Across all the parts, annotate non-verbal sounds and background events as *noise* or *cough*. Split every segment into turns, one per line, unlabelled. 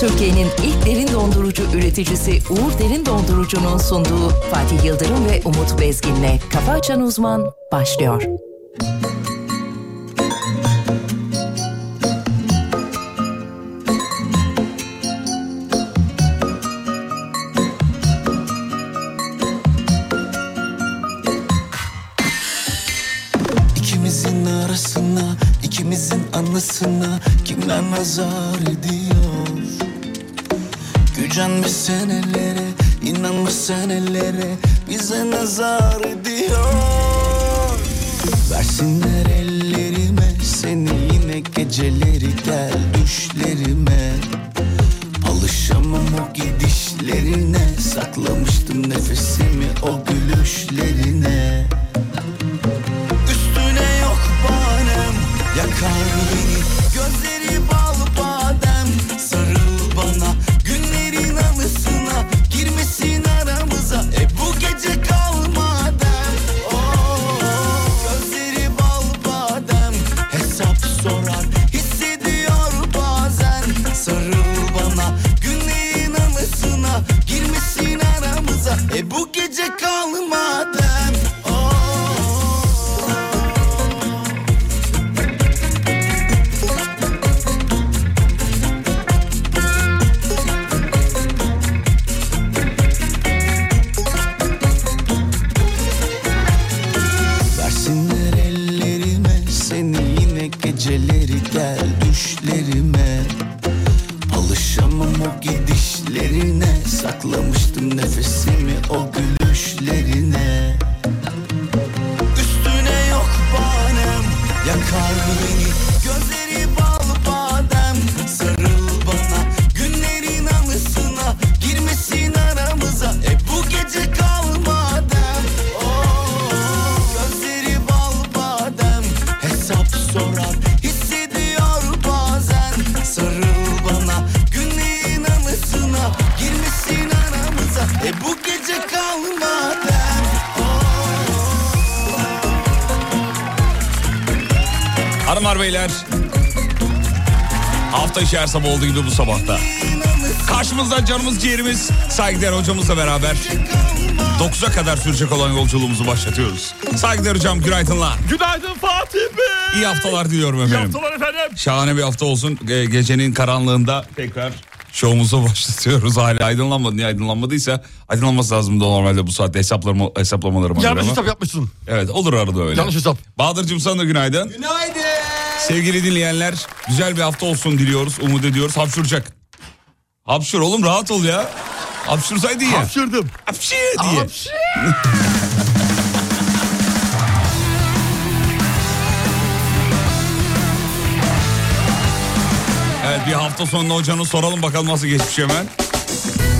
Türkiye'nin ilk derin dondurucu üreticisi Uğur Derin Dondurucu'nun sunduğu Fatih Yıldırım ve Umut Bezgin'le Kafa Açan Uzman başlıyor.
İkimizin arasına, ikimizin anısına kimler nazar ediyor? Gücenmiş senelere, inanmış senelere bize nazar ediyor. Versinler ellerime seni yine geceleri gel düşlerime. Alışamam o gidişlerine, saklamıştım nefesimi o gülüşlerine. Üstüne yok banem Yakar beni Gözleri bal badem Sarıl bana Günlerin anısına Girmesin aramıza E bu gece kal madem Oo, Gözleri bal badem Hesap sorar Hissediyor bazen Sarıl bana Günlerin anısına Girmesin aramıza E bu gece Oh. kal madem Versinler ellerime seni yine geceleri gel düşlerime Alışamam o gidişlerine saklamıştım nefesimi o gülüşlerine Üstüne yok banem yakar beni gözleri bal badem Sarıl bana günlerin anısına girmesin aramıza E bu gece kal madem Oo, Gözleri bal badem Hesap sorar Hissediyor bazen Sarıl bana Günlerin anısına Girmesin aramıza E bu gece kalmadan
Hanımlar beyler. Hafta içi her sabah olduğu gibi bu sabahta. Karşımızda canımız ciğerimiz saygıdeğer hocamızla beraber 9'a kadar sürecek olan yolculuğumuzu başlatıyoruz. Saygıdeğer hocam günaydınlar.
Günaydın Fatih Bey.
İyi haftalar diliyorum
İyi
efendim.
haftalar efendim.
Şahane bir hafta olsun. Ge- Gecenin karanlığında tekrar şovumuza *laughs* başlatıyoruz. Hala aydınlanmadı. Niye aydınlanmadıysa aydınlanması lazım da normalde bu saatte hesaplama, hesaplamalarıma göre
Yanlış
ama.
hesap yapmışsın.
Evet olur arada öyle.
Yanlış hesap.
Bahadır'cığım sana da günaydın. Sevgili dinleyenler güzel bir hafta olsun diliyoruz, umut ediyoruz. Hapşuracak. Hapşur oğlum rahat ol ya. Hapşursaydı ya.
Hapşırdım.
Hapşir diye.
Hapşır.
Evet bir hafta sonunda hocanın soralım bakalım nasıl geçmiş hemen.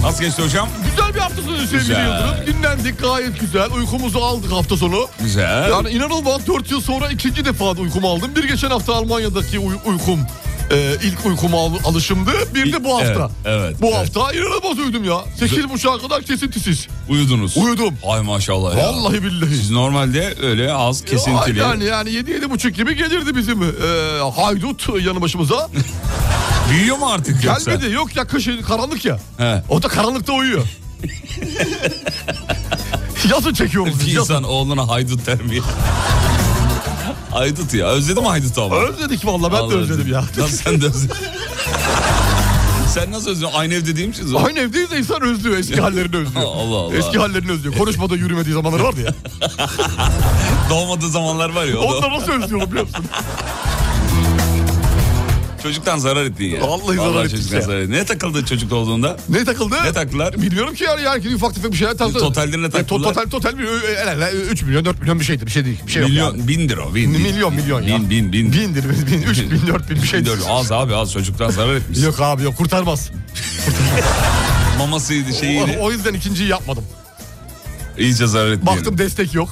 Nasıl geçti hocam?
Güzel bir hafta sonu sevgili
Güzel.
Yıldırım. Dinlendik gayet güzel. Uykumuzu aldık hafta sonu.
Güzel.
Yani inanılmaz 4 yıl sonra ikinci defa da uykumu aldım. Bir geçen hafta Almanya'daki uy- uykum e, ilk uykuma al- alışımdı. Bir de bu
Evet,
hafta.
evet,
bu
evet.
hafta inanılmaz uyudum ya. 8.30'a kadar kesintisiz.
Uyudunuz.
Uyudum.
Ay maşallah ya.
Vallahi billahi.
Siz normalde öyle az kesintili.
Yani yani 7 7 buçuk gibi gelirdi bizim e, haydut yanı başımıza.
Büyüyor mu artık yoksa?
Gelmedi yok ya kış karanlık ya.
He.
O da karanlıkta
*laughs*
uyuyor. yazın çekiyoruz
Bir
biz. Yazın.
insan oğluna haydut der mi? *laughs* ya? haydut ya. Özledim haydut'u ama.
Özledik valla ben de
Vallahi
özledim ya.
Lan sen de özledin. *laughs* sen nasıl özledin? Aynı evde değil misiniz?
Aynı evdeyiz de insan özlüyor eski hallerini özlüyor.
*laughs* Allah Allah.
Eski hallerini özlüyor. Konuşmada yürümediği zamanlar vardı
*laughs*
ya.
Doğmadığı zamanlar var ya. o da-
Onları nasıl özlüyorum biliyor musun?
Çocuktan zarar ettin ya.
Vallahi zarar ettik
çocuktan
ya.
zarar ettin. Ne takıldı çocukta olduğunda?
Ne takıldı?
Ne taktılar?
Bilmiyorum ki yani, yani ufak tefek bir şeyler takıldı.
Totalde ne
E, to-
taktılar?
Total, total bir, e, el ele 3 milyon 4 milyon bir şeydi. Bir şey değil. Bir şey yok
milyon,
yani.
bin lira. Bin, bin.
Milyon milyon ya.
Bin, bin, bin.
Bindir, bin, bin, üç bin, dört bin bir şey.
Dört. Az abi az çocuktan zarar etmiş.
Yok abi yok kurtarmaz.
Mamasıydı
O,
şeyiydi.
o yüzden ikinciyi yapmadım.
İyice zarar etti.
oh. Baktım
yani.
destek yok.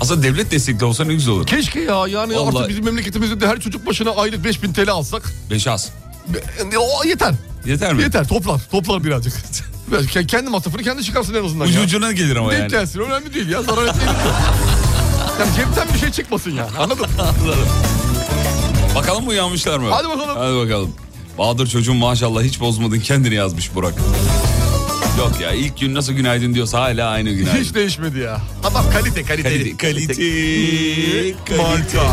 Aslında devlet destekli olsa ne güzel olur.
Keşke ya yani
Vallahi-
artık bizim memleketimizde de her çocuk başına aylık 5000 TL alsak.
Beş az.
Be- e, O yeter.
Yeter mi?
Yeter toplar. Toplar birazcık. *laughs* Ve ke- kendi masrafını kendi çıkarsın en azından
Ucu
ya.
ucuna gelir ama
Denk
yani.
gelsin önemli değil ya zarar etmeyelim.
*laughs*
yani cepten bir şey çıkmasın ya anladın mı?
Bakalım uyanmışlar mı?
Hadi bakalım.
Hadi bakalım. Bahadır çocuğum maşallah hiç bozmadın kendini yazmış Burak. Yok ya ilk gün nasıl günaydın diyorsa hala aynı günaydın.
Hiç değişmedi ya. Adam kalite
Kalite,
kaliteli.
kalite, kalite.
Marka.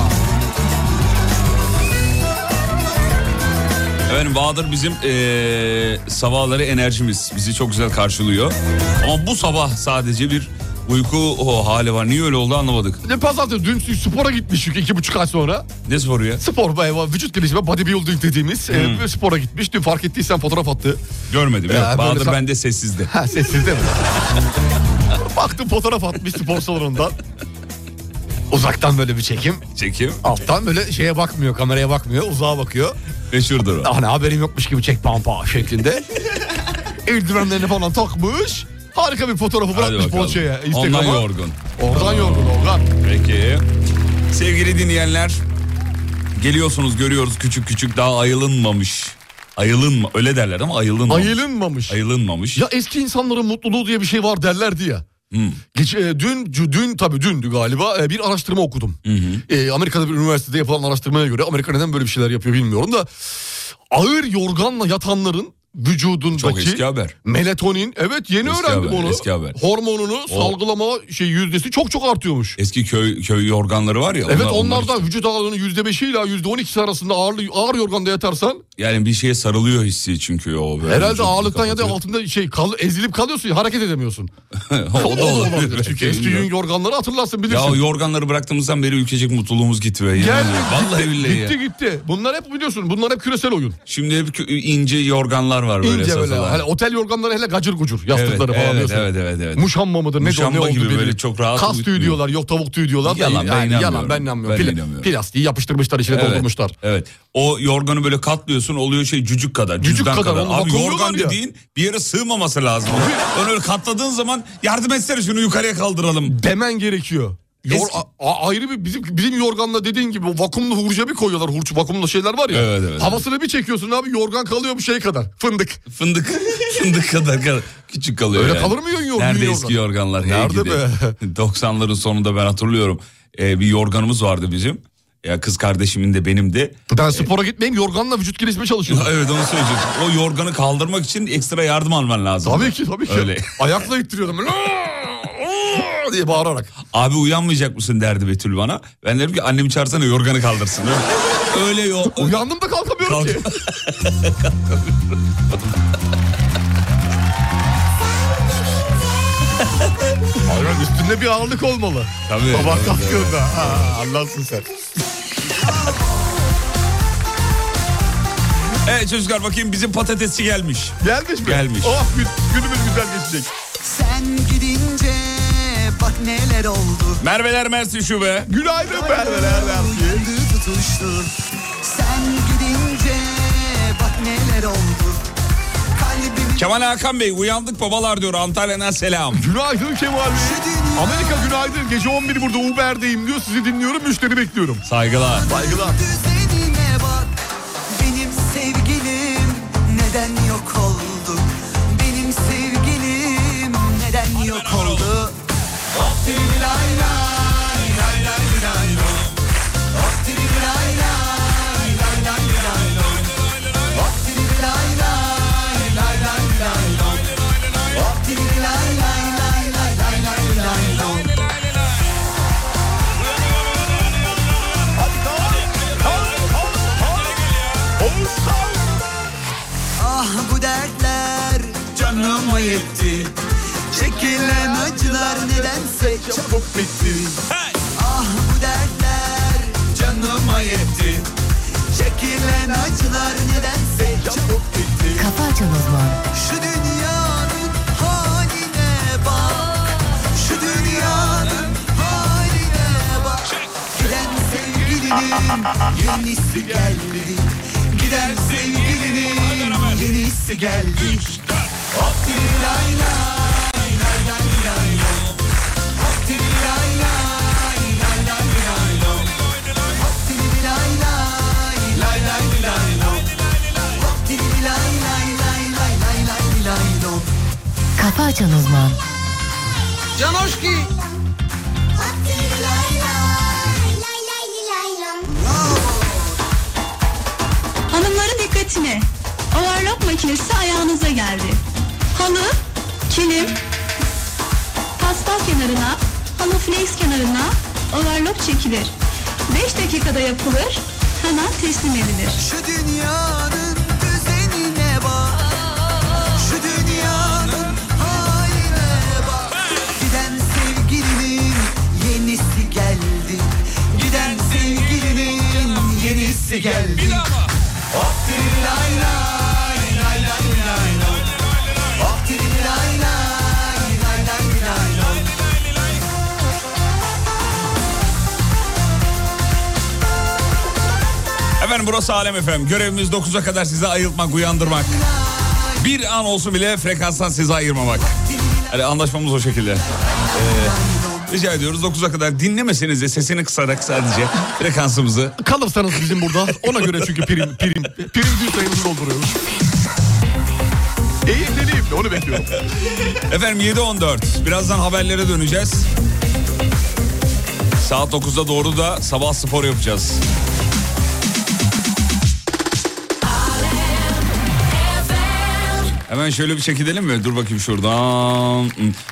Efendim Bahadır bizim eee, sabahları enerjimiz. Bizi çok güzel karşılıyor. Ama bu sabah sadece bir uyku o hali var. Niye öyle oldu anlamadık.
Ne pazartesi dün spora gitmiş çünkü iki buçuk ay sonra.
Ne soru ya?
Spor bayağı vücut gelişimi bodybuilding dediğimiz e,
Hmm.
spora gitmiş. Dün fark ettiysen fotoğraf attı.
Görmedim.
Ya,
Yok,
böyle
Bahadır
sa- *laughs*
bende sessizdi.
Ha sessiz değil mi? Baktım fotoğraf atmış spor salonundan. Uzaktan böyle bir çekim.
Çekim.
Alttan böyle şeye bakmıyor, kameraya bakmıyor, uzağa bakıyor.
Meşhurdur o.
Hani haberim yokmuş gibi çek pampa şeklinde. Eldivenlerini falan takmış. Harika bir fotoğrafı
Hadi
bırakmış
bakalım.
poğaçaya.
Ondan
Instagram'a.
yorgun.
Oradan yorgun, oradan.
Peki. Sevgili dinleyenler geliyorsunuz görüyoruz küçük küçük daha ayılınmamış. Ayılınma öyle derler ama ayılınmamış.
Ayılınmamış.
Ayılınmamış. Hmm.
Ya eski insanların mutluluğu diye bir şey var derlerdi ya. Geç, e, dün c- dün tabii dündü galiba e, bir araştırma okudum. E, Amerika'da bir üniversitede yapılan araştırmaya göre Amerika neden böyle bir şeyler yapıyor bilmiyorum da ağır yorganla yatanların
Çok
vücudundaki
eski haber.
melatonin evet yeni
Eski
öğrendim
haber,
onu.
eski haber.
Hormonunu salgılama şey yüzdesi çok çok artıyormuş.
Eski köy köy yorganları var ya.
Evet
E, onlar- onlar-
onlardan vücut ağırlığının %5 ile %12'si arasında ağır, ağır yorganda yatarsan
yani bir şeye sarılıyor hissi çünkü o böyle.
herhalde
vücudunu
ağırlıktan ya da
kapatıyor.
altında şey kal- ezilip kalıyorsun ya, hareket edemiyorsun.
*laughs*
*laughs*
o da olabilir.
Çünkü eski gün yorganları hatırlarsın
Ya
bilirsin.
o yorganları bıraktığımızdan beri ülkecek mutluluğumuz gitti be. Yani.
Geldi.
Vallahi billahi ya.
Gitti gitti. Bunlar hep biliyorsun bunlar hep küresel oyun.
Şimdi hep kö- ince yorganlar var böyle
İnce böyle.
satılan.
Hani otel yorganları hele gacır gucur yastıkları
Evet,
falan
evet,
diyorsun.
evet, evet, evet.
Muşamba mıdır ne,
Muşamba
ne oldu
gibi
belli
böyle
değil.
çok rahat
Kas tüyü
uyutmuyor.
diyorlar yok tavuk tüyü diyorlar. da
Yalan, ben inanmıyorum.
Yalan ben inanmıyorum.
Ben
Pla-
inanmıyorum.
Plastiği yapıştırmışlar içine
Evet,
doldurmuşlar.
Evet. O yorganı böyle katlıyorsun oluyor şey cücük kadar.
Cücük
cüzdan
kadar,
kadar.
oğlum,
Abi
vakumluyorlar
yorgan
ya.
dediğin bir yere sığmaması lazım. Onu öyle katladığın zaman yardım etsene şunu yukarıya kaldıralım.
Demen gerekiyor. Yor-
Eski-
a- a- ayrı bir bizim bizim yorganla dediğin gibi o vakumlu hurca bir koyuyorlar. Hurç vakumlu şeyler var ya.
Evet, evet, evet.
havasını bir çekiyorsun abi yorgan kalıyor bir şey kadar. Fındık.
Fındık *laughs* fındık kadar, kadar küçük kalıyor.
Öyle
yani.
kalır mı yün yorgan?
Nerede eski yorganlar? Hey
Nerede
gidi.
be?
*laughs* 90'ların sonunda ben hatırlıyorum. Ee, bir yorganımız vardı bizim. Ya kız kardeşimin de
*laughs*
benim de.
Ben spora gitmeyeyim yorganla vücut gelişme çalışıyorum.
Evet onu söyleyeceğim. O yorganı kaldırmak için ekstra yardım alman lazım.
Tabii ki tabii ki.
Öyle.
Ayakla ittiriyordum. Böyle, "Aa, aa" diye bağırarak.
Abi uyanmayacak mısın derdi Betül bana. Ben dedim ki annemi çağırsana yorganı kaldırsın. *laughs* Öyle, öyle yok.
Uyandım da kalkamıyorum
Kalk. *laughs*
ki. Hayır bak, üstünde bir ağırlık olmalı.
Tabii.
Sabah
tabii,
kalktığında. Ha, anlarsın sen.
tabii. Evet çocuklar bakayım bizim patatesi gelmiş.
Gelmiş mi?
Gelmiş.
Oh gün- günümüz güzel geçecek.
Sen gidince bak neler oldu
Merveler Mersin Şube.
Günaydın perdeler Lampi.
Döndü tutuştu Sen gidince bak neler oldu Kalbim
Kemal Hakan Bey uyandık babalar diyor Antalya'dan selam.
Günaydın Kemal Bey. Amerika günaydın. Gece 11 burada Uber'deyim diyor. Sizi dinliyorum. Müşteri bekliyorum.
Saygılar.
Saygılar.
düzenine bak Benim sevgilim neden yok oldu Benim sevgilim neden yok oldu Hop diri lay lay lay lay lay lay Hop diri lay lay lay lay lay lay Hop diri lay lay lay lay lay lay Hop diri lay lay lay lay lay lay lay lay Ah bu dertler canıma yetti Çekilen acılar nedense çabuk bitti Ah bu dertler canıma yetti Çekilen acılar nedense çabuk bitti
Kafa Açan Uzman.
Şu dünyanın haline bak Şu dünyanın haline bak Giden sevgilinin yenisi geldi Giden sevgilinin yenisi geldi Hop diri lay lay lay lay lay lay Hop diri lay lay lay lay lay lay Hop diri lay lay lay lay lay lay Hop diri lay lay lay lay lay lay lay lay
Kafa Açan Uzman.
Hanımların dikkati. makine, overlock makinesi ayağınıza geldi. Halı, kilim, pastel kenarına, halı flex kenarına overlock çekilir. 5 dakikada yapılır, hemen teslim edilir.
Şu dünyanın düzenine bak Şu dünyanın haline bak Giden sevgilinin yenisi geldi Giden sevgilinin yenisi geldi Hop diri lay lay lay lay lay lay Hop diri lay lay lay lay lay lay
Efendim burası Alem Efem. Görevimiz 9'a kadar sizi ayıltmak, uyandırmak. Bir an olsun bile frekanstan sizi ayırmamak. Hani anlaşmamız o şekilde. Ee, rica ediyoruz 9'a kadar dinlemeseniz de sesini kısarak sadece frekansımızı
Kalırsanız bizim burada ona göre çünkü prim prim prim gün sayımızı dolduruyoruz. Eğlenceliyim de onu bekliyorum.
Efendim 7.14. Birazdan haberlere döneceğiz. Saat 9'da doğru da sabah spor yapacağız. Hemen şöyle bir çekilelim mi? Dur bakayım şuradan.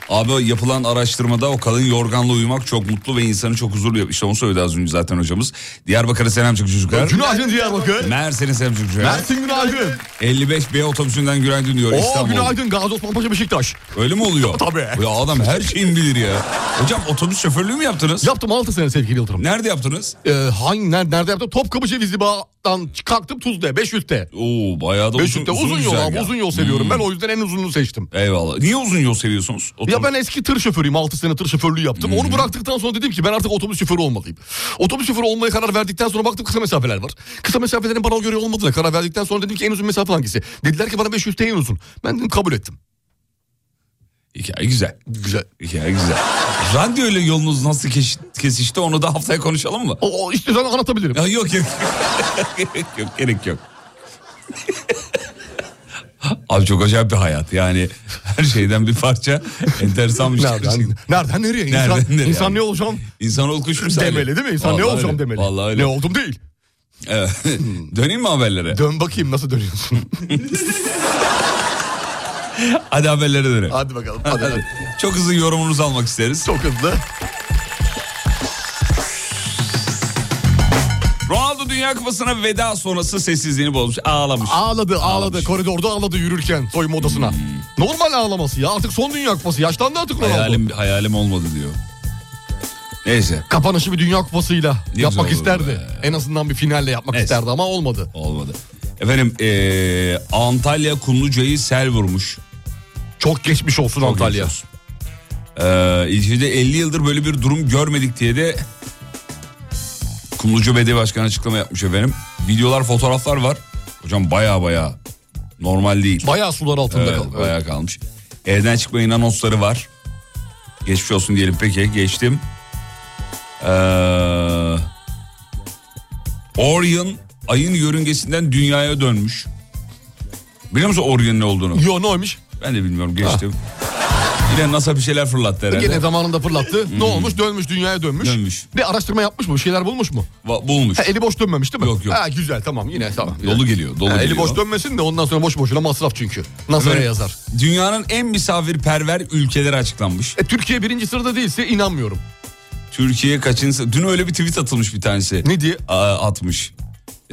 Abi yapılan araştırmada o kadın yorganla uyumak çok mutlu ve insanı çok huzurlu yapıyor. İşte onu söyledi az önce zaten hocamız. Diyarbakır'a selam çık çocuklar.
Günaydın Diyarbakır.
Mersin'e selam çık çocuklar.
Mersin günaydın.
55B otobüsünden günaydın diyor
Oo
İstanbul.
günaydın Gazi Osman Paşa Beşiktaş.
Öyle mi oluyor?
Tabii.
Ya adam her şeyin bilir ya. Hocam otobüs şoförlüğü mü yaptınız?
Yaptım 6 sene sevgili Yıldırım.
Nerede yaptınız?
Ee, hangi ner- nerede yaptım? Topkapı Cevizli Bağ'dan kalktım Tuzla'ya 500'te.
Oo bayağı da uzun,
500'te uzun, yol abi
güzergah.
uzun yol seviyorum.
Hmm.
Ben o yüzden en uzununu seçtim.
Eyvallah. Niye uzun yol seviyorsunuz?
Ya
Otobüs-
ben eski tır şoförüyüm. 6 sene tır şoförlüğü yaptım.
Hmm.
Onu bıraktıktan sonra dedim ki ben artık otobüs şoförü olmalıyım. Otobüs şoförü olmaya karar verdikten sonra baktım kısa mesafeler var. Kısa mesafelerin bana göre olmadığına karar verdikten sonra dedim ki en uzun mesafe hangisi? Dediler ki bana 500'te en uzun. Ben dedim kabul ettim.
Hikaye güzel.
Güzel.
Hikaye güzel. Radyo ile yolunuz nasıl keş- kesişti onu da haftaya konuşalım mı?
O, o işte sana anlatabilirim.
Ya yok *laughs* gerek gerek yok. Gerek yok. *laughs* Abi çok acayip bir hayat. Yani her şeyden bir parça enteresan bir şey.
Nereden, nereden nereye? İnsan,
Nereden nereye
insan
abi?
ne olacağım
İnsanoğlu kuş misali.
demeli değil mi? İnsan ne
Vallahi
olacağım
öyle.
demeli.
Vallahi öyle.
Ne oldum değil.
Evet. *laughs* Döneyim mi haberlere?
Dön bakayım nasıl dönüyorsun.
*laughs* Hadi haberlere dönelim.
hadi bakalım. Hadi, hadi.
Çok hızlı yorumunuzu almak isteriz.
Çok hızlı.
Ronaldo Dünya Kupası'na veda sonrası sessizliğini bozmuş. Ağlamış.
Ağladı ağladı. Koridorda ağladı yürürken soyunma odasına. Normal ağlaması ya. Artık son dünya kupası. Yaşlandı artık Ronaldo.
hayalim, hayalim olmadı diyor. Neyse.
Kapanışı bir dünya kupasıyla
güzel
yapmak
olurdu
isterdi.
be.
En azından bir finalle yapmak
Neyse.
isterdi ama olmadı.
Olmadı. Efendim ee, Antalya Kumluca'yı sel vurmuş.
Çok geçmiş olsun Antalya.
geçmiş Ee, ilçede 50 yıldır böyle bir durum görmedik diye de Kumluca Belediye Başkanı açıklama yapmış efendim. Videolar, fotoğraflar var. Hocam baya baya normal değil.
Bayağı sular altında
Evet,
kaldı.
Bayağı kalmış. Evden çıkmayın anonsları var. Geçmiş olsun diyelim peki geçtim. Ee, Orion ayın yörüngesinden dünyaya dönmüş. Biliyor musun Orion ne olduğunu?
Yo ne olmuş?
Ben de
*laughs*
bilmiyorum geçtim. Yine NASA bir şeyler fırlattı herhalde.
Gene zamanında fırlattı. Ne olmuş? Dönmüş dünyaya dönmüş.
Hmm. Dönmüş.
Bir araştırma yapmış mı? Bir şeyler bulmuş mu?
Va- bulmuş.
Ha, eli boş dönmemiş değil mi?
Yok, yok.
Ha, güzel tamam yine tamam.
Dolu geliyor, dolu
Ha, eli
geliyor.
boş dönmesin de ondan sonra boş boşuna masraf çünkü. NASA'ya
Efendim,
yazar.
Dünyanın en misafirperver ülkeleri açıklanmış.
E, Türkiye birinci sırada değilse inanmıyorum.
Türkiye kaçıncı... Dün öyle bir tweet atılmış bir tanesi.
Ne diye?
A- atmış.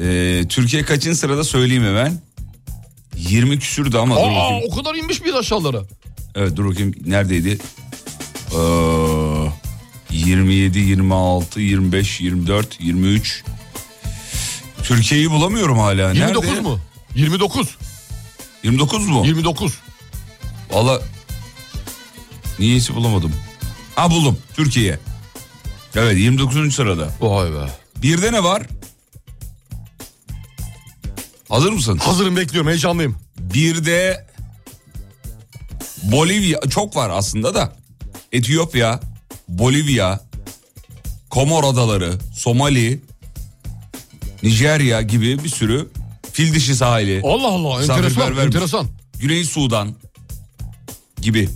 Ee, Türkiye kaçın sırada söyleyeyim hemen. 20 küsürdü ama dur
Aa,
bakayım.
o kadar inmiş bir aşağılara.
Evet dur bakayım neredeydi? Ee, 27, 26, 25, 24, 23. Türkiye'yi bulamıyorum hala.
29
Nerede?
mu? 29.
29 mu?
29.
Valla niyeyse bulamadım. Ha buldum Türkiye. Evet 29. sırada.
Vay be.
Bir de ne var? Hazır mısın?
Hazırım bekliyorum heyecanlıyım.
Bir de Bolivya çok var aslında da. Etiyopya, Bolivya, Komor Adaları, Somali, Nijerya gibi bir sürü fil dişi sahili,
Allah Allah
Misafirperver
enteresan
misin?
enteresan.
Güney Sudan gibi.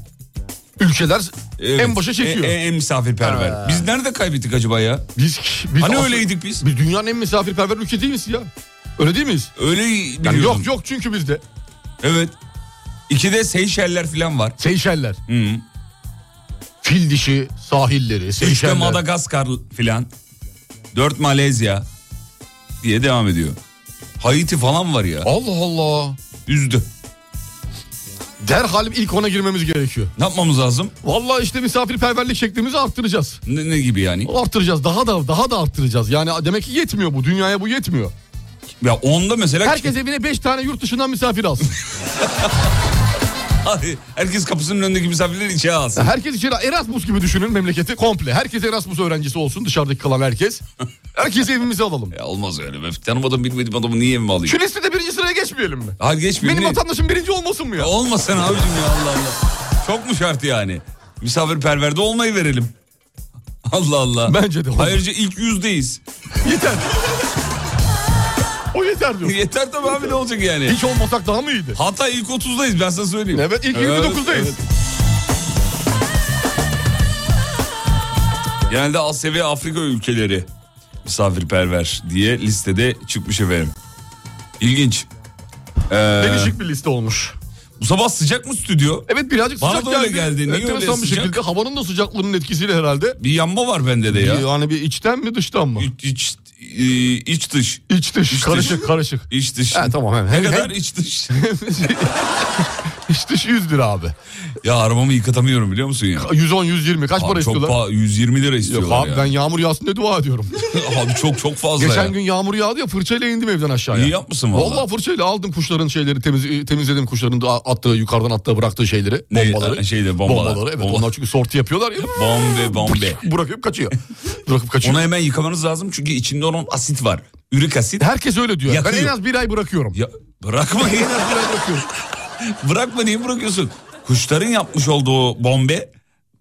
Ülkeler
Evet. E,
en başa çekiyor.
En, en- en misafirperver. Biz nerede kaybettik acaba ya?
Biz, biz
Hani
asıl-
öyleydik biz?
Biz dünyanın en misafirperver ülke değil miyiz ya? Öyle değil miyiz?
Öyle
Yani
biliyorum.
yok yok çünkü bizde.
Evet. İkide Seyşeller falan var.
Seyşeller.
Hı.
Fil dişi sahilleri.
Üçte
Seyşeller.
Madagaskar filan. Dört Malezya diye devam ediyor. Haiti falan var ya.
Allah Allah.
Üzdü.
Derhal ilk ona girmemiz gerekiyor.
Ne yapmamız lazım?
Vallahi işte misafirperverlik şeklimizi arttıracağız.
Ne, ne gibi yani?
Arttıracağız daha da daha da arttıracağız. Yani demek ki yetmiyor bu dünyaya bu yetmiyor.
Ya onda mesela...
Herkes evine 5 tane yurt dışından misafir alsın.
*laughs* Ay, Herkes kapısının önündeki misafirleri
*laughs*
içeri alsın.
Herkes için Erasmus gibi düşünün memleketi komple. Herkes Erasmus öğrencisi olsun dışarıdaki kalan herkes. Herkesi evimize alalım.
Ya olmaz öyle. be. Tanımadığım bilmediğim adamı niye evime alayım?
Şu listede birinci sıraya geçmeyelim mi?
Hayır geçmiyor.
Benim
Ne-
vatandaşım birinci olmasın mı ya?
Ya olmasın abicim ya Allah Allah. Çok mu şart yani? Misafirperverde olmayı verelim. *laughs* Allah Allah.
Bence de olur.
Ayrıca ilk yüzdeyiz. *laughs*
Yeter. o yeter diyor.
Yeter tabii abi ne olacak yani?
Hiç olmasak daha mı iyiydi?
Hatta ilk 30'dayız ben sana söyleyeyim.
Evet ilk 29'dayız.
evet. Genelde Asya ve Afrika ülkeleri misafirperver diye listede çıkmış efendim. İlginç. Ee,
Değişik bir liste olmuş.
bu sabah sıcak mı stüdyo?
Evet birazcık
Bana
sıcak
da öyle geldi. Niye
Enteresan
öyle
bir
sıcak?
şekilde havanın da sıcaklığının etkisiyle herhalde.
Bir yanma var bende de ya.
Yani bir içten mi dıştan mı?
İç, iç, e, iç dış.
İç dış.
İç
karışık karışık. *laughs*
İç dış.
Ha, tamam hemen.
Ne
Hem-
kadar
hem-
iç dış?
İç dış 100 lira abi.
ya arabamı yıkatamıyorum biliyor musun ya?
110 120 kaç para
Abi çok
istiyorlar?
pahalı, 120 lira
Yok
istiyorlar
abi
ya.
ben yağmur yağsın diye dua
*laughs*
ediyorum.
abi çok çok fazla
Geçen
ya.
gün yağmur yağdı ya fırçayla indim evden aşağıya.
İyi yapmışsın valla.
Valla fırçayla aldım kuşların şeyleri temiz, e, temizledim kuşların da attığı yukarıdan attığı bıraktığı şeyleri.
Ne, e,
bombaları.
şeyde, bombalar.
evet
Bomba-
onlar çünkü sorti yapıyorlar ya.
Bombe bombe.
Bırakıp kaçıyor. Bırakıp kaçıyor.
Onu hemen yıkamanız lazım çünkü içinde onun asit var. Ürik asit.
Herkes öyle diyor. Ben
Yakıyor.
en az bir ay bırakıyorum.
Ya bırakma *laughs*
En
ya.
az bir ay bırakıyorum.
Bırakma niye bırakıyorsun? Kuşların yapmış olduğu bombe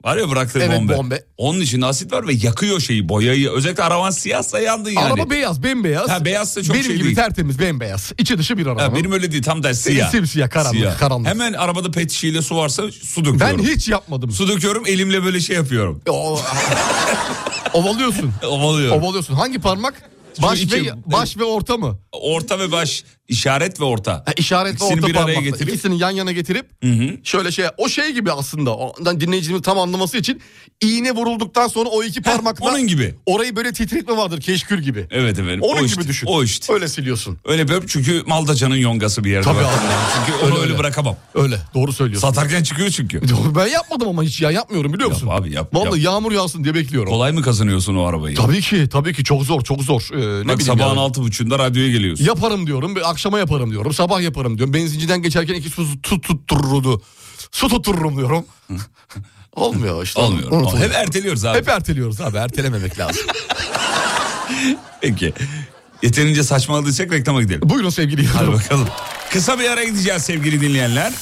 var ya bıraktığı
Evet,
bombe.
bombe.
Onun içinde asit var ve yakıyor şeyi boyayı. Özellikle araban siyahsa yandın yani.
Araba beyaz, bembeyaz.
Ha, beyazsa çok
Benim
şey
gibi
değil.
tertemiz, bembeyaz. İçi dışı bir araba.
Ha, benim öyle değil tam tersi siyah.
Simsiyah, karanlık, karanlık.
Hemen arabada pet şişeyle su varsa su döküyorum.
Ben hiç yapmadım.
Su döküyorum elimle böyle şey yapıyorum. *laughs*
O- Ovalıyorsun.
Ovalıyorum.
Ovalıyorsun. Hangi parmak? Baş
iki-
ve baş ve orta mı?
orta ve baş işaret ve orta.
Ha, işaretle
İkisini
orta
bir araya
parmakla.
getirip-
İkisini yan yana getirip şöyle şey o şey gibi aslında. Ondan dinleyicimiz tam anlaması için iğne vurulduktan sonra o iki parmakla
onun gibi.
Orayı böyle titretme vardır keşkür gibi.
Evet efendim.
Onun
o
gibi
işte,
düşün.
O işte.
Öyle siliyorsun.
Öyle böyle çünkü Maldacanın yongası bir yerde.
Tabii
var.
abi.
Çünkü onu öyle,
Öyle, öyle.
bırakamam.
Öyle doğru söylüyorsun.
Satarken çıkıyor
*laughs*
çünkü.
Doğru, ben yapmadım ama hiç ya yapmıyorum biliyor
Yap
musun?
abi, yap,
Vallahi
yap.
yağmur yağsın diye bekliyorum.
Kolay mı kazanıyorsun o arabayı?
Tabii ki tabii ki çok zor çok zor. Ee, ne
Bak
bileyim
sabahın
yani.
altı buçuğunda radyoya geliyorsun.
Yaparım diyorum, bir akşama yaparım diyorum, sabah yaparım diyorum. Benzinciden geçerken iki su tut, tuttururdu. Su tuttururum
*laughs*
diyorum. Olmuyor işte.
Olmuyor. Olmuyor.
Unutuluyor.
Hep erteliyoruz abi.
Hep er- erteliyoruz abi
*laughs*
ertelememek lazım.
Peki. Yeterince saçmaladıysak reklama gidelim.
Buyurun sevgili
Hadi
yıldırım.
bakalım. Kısa bir ara gideceğiz sevgili dinleyenler.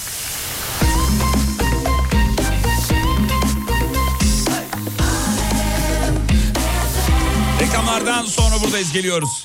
Reklamlardan sonra buradayız geliyoruz.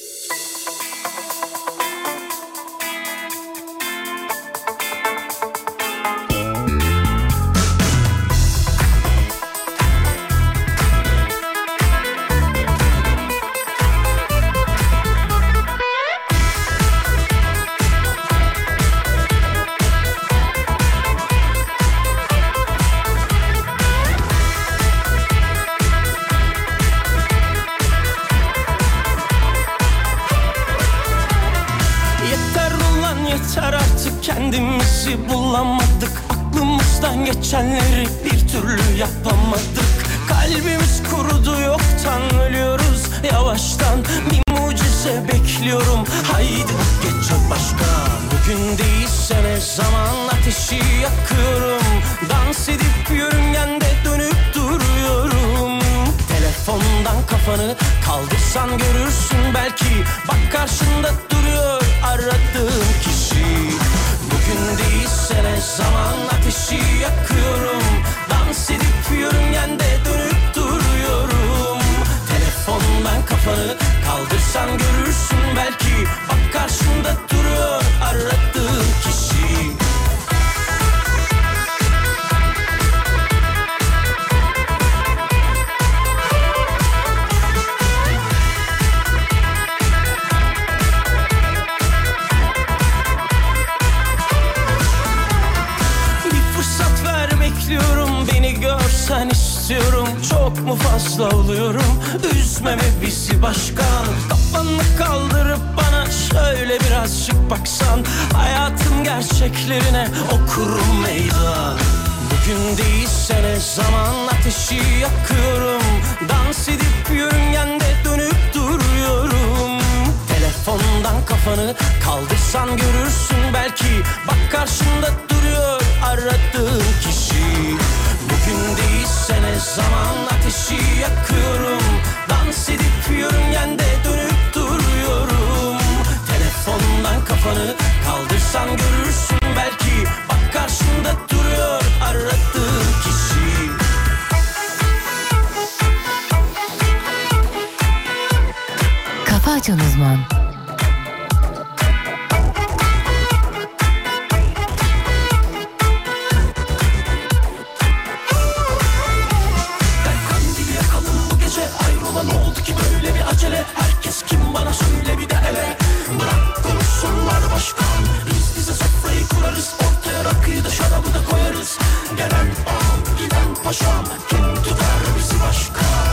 Yeter ulan yeter artık kendimizi bulamadık Aklımızdan geçenleri bir türlü yapamadık Kalbimiz kurudu yoktan ölüyoruz yavaştan Bir mucize bekliyorum haydi geç ol başka Bugün değilse ne zaman ateşi yakıyorum Dans edip yörüngende dönüp duruyorum Telefondan kafanı kaldırsan görürsün belki Bak karşında duruyor aradığım kişi Bugün değilse ne zaman ateşi yakıyorum Dans edip yörüngende dönüp duruyorum Telefondan kafanı kaldırsan görürsün belki Bak karşında duruyor aradığım kişi istiyorum Çok mu fazla oluyorum Üzme mi bizi başkan Kafanı kaldırıp bana Şöyle birazcık baksan Hayatın gerçeklerine okurum meydan Bugün değilse ne zaman ateşi yakıyorum Dans edip yörüngende dönüp duruyorum Telefondan kafanı kaldırsan görürsün belki Bak karşında duruyor aradığın kişi Bugün değilse ne zaman ateşi yakıyorum Dans edip yörüngende dönüp duruyorum Telefondan kafanı kaldırsan görürsün belki Bak karşında duruyor aradığın kişi
Kafa Açan Uzman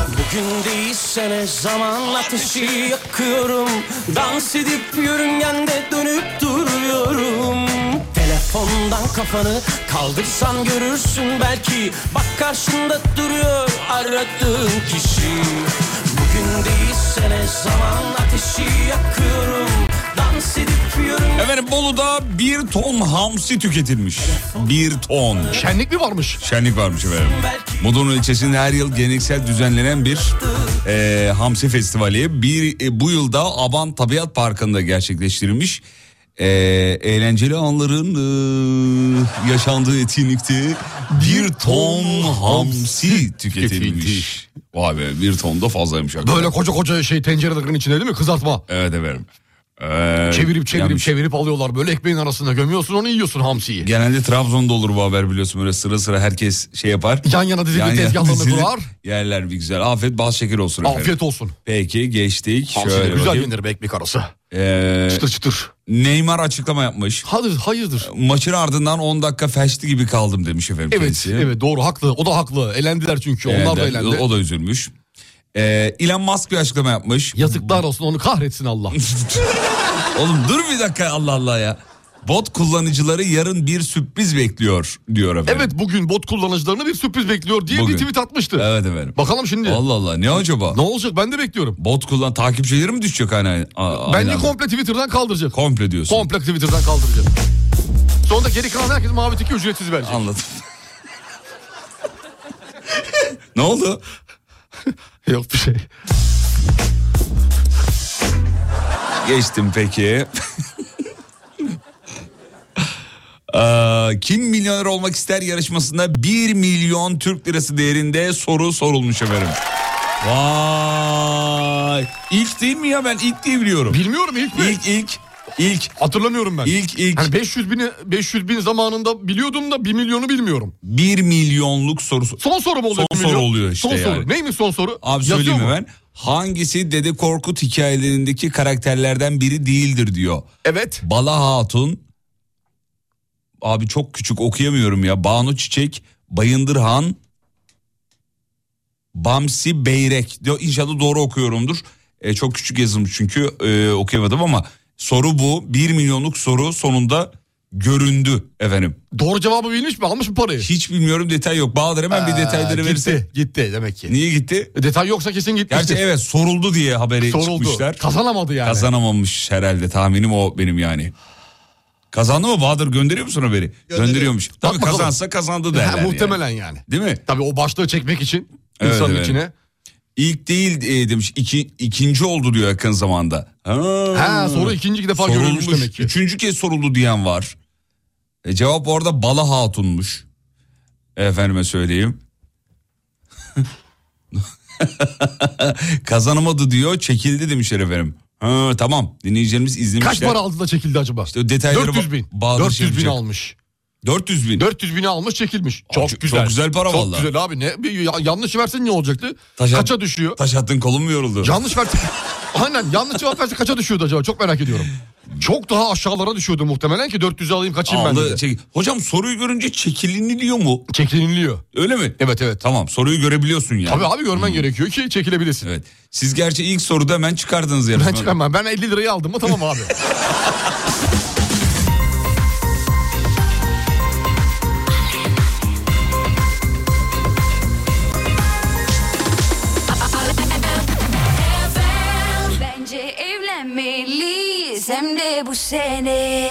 Bugün değilse ne zaman ateşi yakıyorum Dans edip yörüngende dönüp duruyorum Telefondan kafanı kaldırsan görürsün belki Bak karşında duruyor aradığın kişi Bugün değilse ne zaman ateşi yakıyorum Dans edip yörüngende
Efendim Bolu'da bir ton hamsi tüketilmiş. Bir ton.
Şenlik mi varmış?
Şenlik varmış efendim. Mudurnu ilçesinde her yıl geleneksel düzenlenen bir e, hamsi festivali. Bir, e, bu yılda Aban Tabiat Parkı'nda gerçekleştirilmiş. E, eğlenceli anların e, yaşandığı etkinlikte bir ton hamsi tüketilmiş. Vay be bir ton da fazlaymış. hakikaten.
Böyle koca koca şey tencerelerin içinde değil mi? Kızartma.
Evet efendim. Ee,
Çevirip çevirip
yani
çevirip alıyorlar. Böyle ekmeğin arasına gömüyorsun onu yiyorsun hamsiyi.
Genelde Trabzon'da olur bu haber biliyorsun böyle sıra sıra herkes şey yapar.
Yan yana dizilip
Yan yana
tezgahlarını
*laughs* dizilip
kurar.
Yerler bir güzel. Afiyet bal şeker olsun efendim.
Afiyet olsun.
Peki geçtik.
Hamsi de
Şöyle
güzel
bakayım.
yenir be ekmek arası.
Ee,
Çıtır çıtır.
Neymar açıklama yapmış.
Hayır, hayırdır.
Maçın ardından 10 dakika felçli gibi kaldım demiş efendim
Evet,
kendisi.
evet doğru haklı. O da haklı. Elendiler çünkü. Onlar da
Ee,
elendi.
O da üzülmüş. Ee, Elon Musk bir açıklama yapmış.
Yazıklar olsun onu kahretsin Allah.
Oğlum dur bir dakika Allah Allah ya. Bot kullanıcıları yarın bir sürpriz bekliyor diyor efendim.
evet bugün bot kullanıcılarını bir sürpriz bekliyor diye
Bugün.
bir tweet atmıştı.
Evet efendim.
Bakalım şimdi.
Allah Allah ne acaba?
Ne olacak ben de bekliyorum.
Bot kullan takipçileri mi düşecek hani? a-
Bence
aynı anda?
komple Twitter'dan kaldıracak.
komple diyorsun.
Komple Twitter'dan kaldıracak. Sonunda geri kalan herkes mavi tiki ücretsiz verecek.
Anladım. ne oldu?
*laughs* Yok bir şey.
Geçtim peki. *laughs* Aa, Ee, Kim milyoner olmak ister yarışmasında 1 milyon Türk lirası değerinde soru sorulmuş efendim. Vay. İlk değil mi ya ben ilk diye biliyorum.
Bilmiyorum ilk mi?
İlk ilk ilk
Hatırlamıyorum ben.
ilk ilk
Hani 500 bini 500 bin zamanında biliyordum da 1 milyonu bilmiyorum.
1 milyonluk sorusu.
Son soru mu oluyor? bir
Son
milyon?
soru oluyor işte
Son
yani.
soru. Neymiş son soru?
Abi
Yazıyor
söyleyeyim mi
mu?
ben? Hangisi Dede Korkut hikayelerindeki karakterlerden biri değildir diyor.
Evet.
Bala Hatun. Abi çok küçük okuyamıyorum ya. Banu Çiçek, Bayındır Han, Bamsi Beyrek. Diyor. İnşallah doğru okuyorumdur. E, çok küçük yazılmış çünkü e, okuyamadım ama soru bu. 1 milyonluk soru sonunda göründü efendim.
Doğru cevabı bilmiş mi? Almış mı parayı?
Hiç bilmiyorum detay yok. Bahadır hemen bir detayları
gitti,
verirse.
Gitti demek ki. E,
Niye gitti?
Detay yoksa kesin
Gerçi
gitmiştir.
evet soruldu diye haberi çıkmışlar.
Kazanamadı yani.
Kazanamamış herhalde tahminim o benim yani. Kazandı mı Bahadır gönderiyor musun haberi? Gönderiyormuş. Tabii
bakalım.
kazansa kazandı
Ha,
derler. yani.
muhtemelen yani.
Değil mi?
Tabii o başlığı çekmek için
Evet,
insanın
evet.
içine.
İlk değil e, demiş. iki- ikinci oldu diyor yakın zamanda. Ha,
Ha soru ikinci defa
Hmm. sorulmuş.
görülmüş demek ki.
Üçüncü kez soruldu diyen var. E, cevap orada Bala Hatun'muş. Efendime söyleyeyim. *laughs* Kazanamadı diyor çekildi demişler efendim. Ha, tamam dinleyicilerimiz izlemişler.
Kaç para aldı da çekildi acaba?
İşte detayları
400 bin.
Bahadır
400 bin
Şevket.
almış.
400 bin.
400 bini almış çekilmiş. Çok
çok-
güzel.
çok güzel para
Çok
vallahi.
güzel abi. Ne, bir ya- yanlış versen ne olacaktı?
Taşan-
Kaça düşüyor?
Taş attın kolum mu yoruldu?
*laughs* yanlış versen... Aynen yanlış cevap verse kaça düşüyordu acaba? Çok merak ediyorum. Çok daha aşağılara düşüyordu muhtemelen ki 400'ü alayım kaçayım ben
Aldı,
dedi.
çek- Hocam soruyu görünce çekiliniliyor mu?
Çekiliniliyor.
Öyle mi?
Evet evet.
Tamam soruyu görebiliyorsun yani.
Tabii abi görmen gerekiyor ki çekilebilesin.
Hmm. Evet. Siz gerçi ilk soruda hemen çıkardınız yarışmadan.
Ben çıkamam. Ben 50 lirayı aldım mı tamam
*laughs*
abi.
Bence evlenmeliyiz hem de bu sene.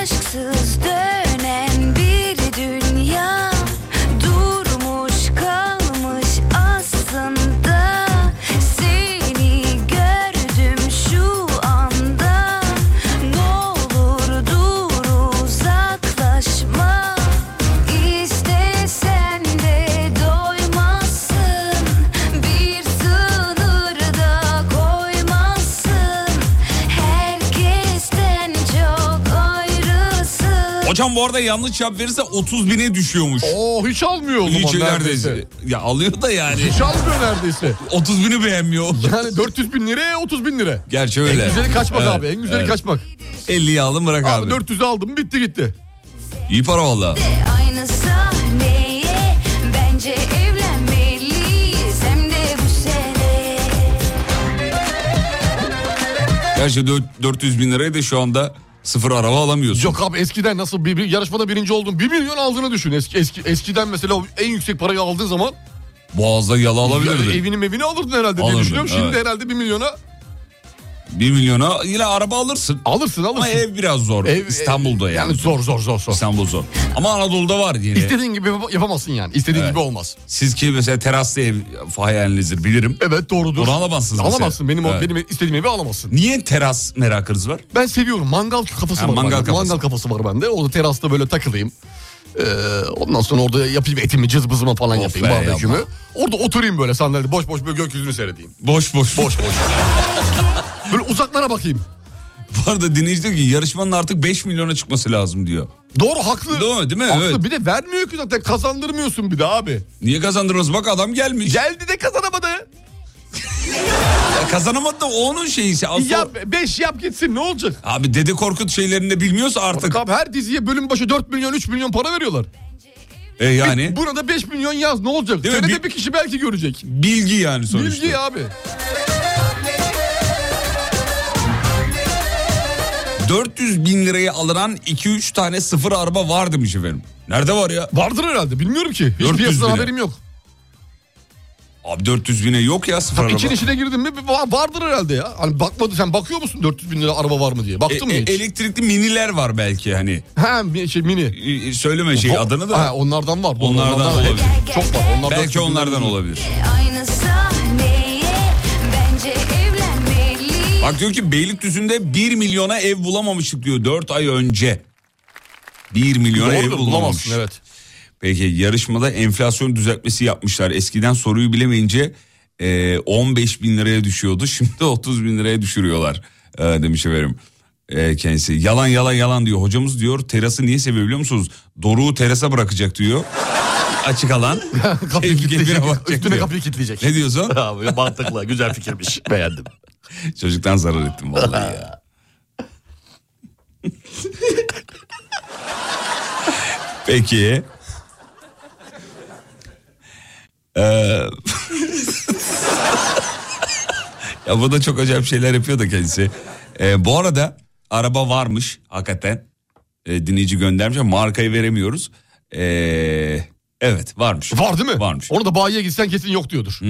Aşksız dönen bir dünya durmuş kalmış aslında seni gördüm şu anda ne olur dur uzaklaşma istesen de doymazsın bir sınırda koymazsın herkesten çok ayrısın.
Hocam bu arada yanlış cevap verirse 30 bine düşüyormuş.
Oo Oh, hiç almıyor oğlum.
Hiç
o
neredeyse. Ya alıyor da
*laughs*
yani.
Hiç almıyor neredeyse.
30 bini beğenmiyor.
Yani 400 bin liraya 30 bin lira.
Gerçi öyle.
En güzeli kaçmak
Evet,
abi. En güzeli
evet.
kaçmak.
50'yi alın bırak
Abi,
abi.
400'ü aldım bitti gitti.
İyi para valla.
E, Aynı sahneye bence evlenmeliyiz hem de bu sene.
Gerçi dört- 400 bin lirayı da şu anda sıfır araba alamıyorsun.
Yok abi eskiden nasıl bir, bir yarışmada birinci oldun. 1 milyon aldığını düşün. Eski, eski Eskiden mesela o en yüksek parayı aldığın zaman
Boğaz'da yalı
ya,
alabilirdin.
evini mevini alırdın herhalde
Alırdım,
diye düşünüyorum. Şimdi
evet.
herhalde 1 milyona
1 milyona yine araba alırsın.
alırsın alırsın.
Ama ev biraz zor.
Ev-
İstanbul'da yani.
Yani zor zor zor zor.
İstanbul zor. Ama Anadolu'da var yine.
İstediğin gibi yap- yapamazsın yani. İstediğin gibi olmaz.
Siz ki mesela teraslı ev hayalinizdir bilirim.
Evet doğrudur.
Onu alamazsınız mesela.
Alamazsın. Benim, o
Evet.
benim istediğim evi alamazsın.
Niye teras merakınız var?
Ben seviyorum. Mangal kafası
Ha,
var.
mangal
bende.
kafası.
mangal kafası var bende. Orada terasta böyle takılayım. Ee, ondan sonra orada yapayım etimi, cızbızımı falan
Of
yapayım
be,
barbekümü.
yapma.
Orada oturayım böyle sandalyede boş boş böyle gökyüzünü seyredeyim.
Boş boş. Boş boş. *laughs*
Böyle uzaklara bakayım.
Bu arada dinleyici diyor ki yarışmanın artık 5 milyona çıkması lazım diyor.
Doğru haklı.
Değil mi? Değil mi?
Haklı.
Evet.
Bir de vermiyor ki zaten kazandırmıyorsun bir de abi.
Niye kazandınız? Bak adam gelmiş.
Geldi de kazanamadı.
Ya Kazanamadı da o onun şeyisi. Asıl...
Yap, beş yap gitsin ne olacak?
Abi Dede Korkut şeylerini de bilmiyorsa artık.
Abi her diziye bölüm başı 4 milyon 3 milyon para veriyorlar.
E yani
Buna da 5 milyon yaz ne olacak?
Değil mi?
Senede
Bir-
bir kişi belki görecek.
bilgi yani sonuçta.
Bilgi abi.
400 bin liraya alınan 2-3 tane sıfır araba var demiş efendim. Nerede var ya?
Vardır herhalde bilmiyorum ki. Hiç
400
piyasadan
bile.
haberim yok.
Abi 400 bine yok ya sıfır
Tabii
araba.
için içine şey girdin mi bir- va- vardır herhalde ya. Hani bakmadı sen bakıyor musun 400 bin lira araba var mı diye.
E,
Baktın mı
e,
hiç?
elektrikli miniler var belki hani.
Ha bir şey mini.
E, e, Söyleme şey
O-
adını da.
Ha, onlardan var.
Onlardan olabilir.
Çok var. Onlardan
belki onlardan olabilir.
E, Aynı sahneye bence evlenmeliyiz.
Bak diyor ki Beylikdüzü'nde 1 milyona ev bulamamıştık diyor 4 ay önce. 1 milyona ev
Doğrudur
bulamamış.
bulamazsın evet.
Peki yarışmada enflasyon düzeltmesi yapmışlar. Eskiden soruyu bilemeyince e, 15 bin liraya düşüyordu. *laughs* Şimdi 30 bin liraya düşürüyorlar e, demiş efendim. E, kendisi yalan yalan yalan diyor. Hocamız diyor terası niye seviyor biliyor musunuz? Doruğu terasa bırakacak diyor. Açık alan.
*laughs* Kapıyı
Tebrik
kilitleyecek.
edene bakacak
Üstüne
diyor.
kapıyı kilitleyecek.
Ne diyorsun?
*laughs* Abi mantıklı güzel fikirmiş. Beğendim.
Çocuktan zarar ettim vallahi
*laughs*
ya. Peki. Ee, *laughs* ya bu da çok acayip şeyler yapıyor da kendisi. Ee, bu arada araba varmış hakikaten. Ee, dinleyici göndermiş ama markayı veremiyoruz. Ee, evet varmış.
Var değil mi?
Varmış.
Onu da bayiye gitsen kesin yok diyordur.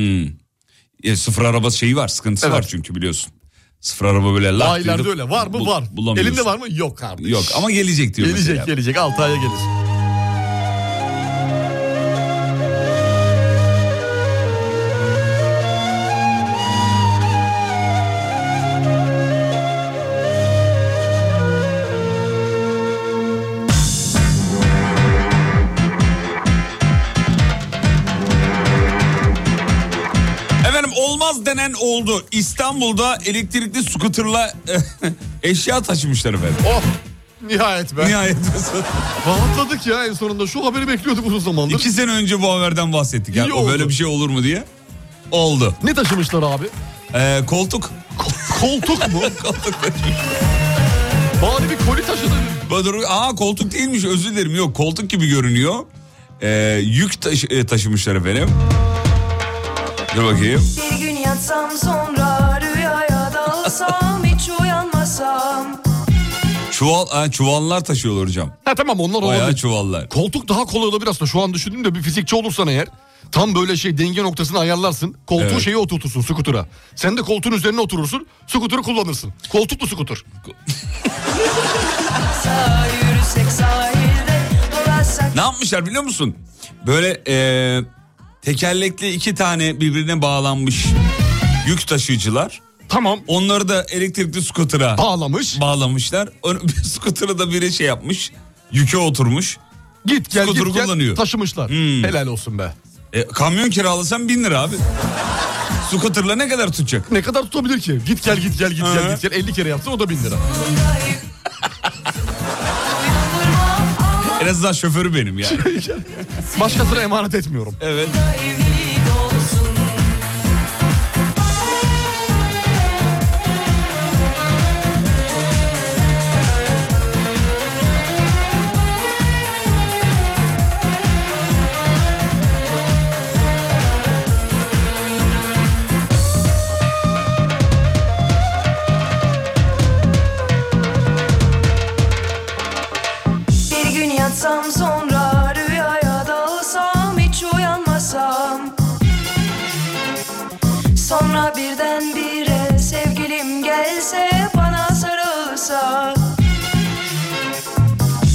Ya sıfır araba şeyi var sıkıntısı
Evet.
var çünkü biliyorsun. Sıfır araba böyle lak
Bayilerde
diyorduk,
öyle. Var mı?
bul-
var.
bulamıyorsun.
Elinde var mı? Yok kardeş.
Yok ama gelecek diyor
Gelecek
mesela.
gelecek. 6 aya gelir.
Efendim olmaz Olmaz denen oldu. İstanbul'da elektrikli skuterla *laughs* eşya taşımışlar efendim.
Oh nihayet be.
Nihayet.
Rahatladık ya en sonunda. Şu haberi bekliyorduk uzun zamandır.
İki sene önce bu haberden bahsettik. ya.
İyi
o
oldu.
böyle bir şey olur mu diye. Oldu.
Ne taşımışlar abi?
Ee, koltuk.
Koltuk
*laughs*
mu? Bari bir koli taşıdı.
Badur- Aa koltuk değilmiş özür dilerim. Yok koltuk gibi görünüyor. Ee, yük taşı- e, taşımışlar efendim. Dur bakayım.
Bir gün yatsam sonra rüyaya dalsam hiç uyanmasam
Çuval, ha, çuvallar taşıyorlar hocam.
Ha tamam onlar
Bayağı
olabilir.
çuvallar.
Koltuk daha kolay olabilir aslında. Şu an düşündüm de bir fizikçi olursan eğer tam böyle şey denge noktasını ayarlarsın. Koltuğu
Evet.
şeye oturtursun skutura. Sen de koltuğun üzerine oturursun. Skuturu kullanırsın. Koltuklu skutur.
Sağa yürüsek sahilde dolaşsak
Ne yapmışlar biliyor musun? Böyle ee, tekerlekli iki tane birbirine bağlanmış yük taşıyıcılar.
Tamam.
Onları da elektrikli skutura
Bağlamış.
bağlamışlar. *laughs* Onu- Skuter'ı da biri şey yapmış. Yüke oturmuş.
git gel
skuturu
git gel.
kullanıyor. Hmm.
Taşımışlar. Helal olsun be.
E, kamyon kiralasan bin lira abi. Skuter'la ne kadar tutacak?
Ne kadar tutabilir ki? Git gel git gel git
Hı.
gel git gel. 50 kere yapsın o da 1000 lira. *laughs*
En azından şoförü benim yani.
*laughs* Başkasına emanet etmiyorum.
evet.
evlilik olsun Bir gün yatsam sonra rüyaya dalsam hiç uyanmasam Sonra birdenbire sevgilim gelse bana sarılsa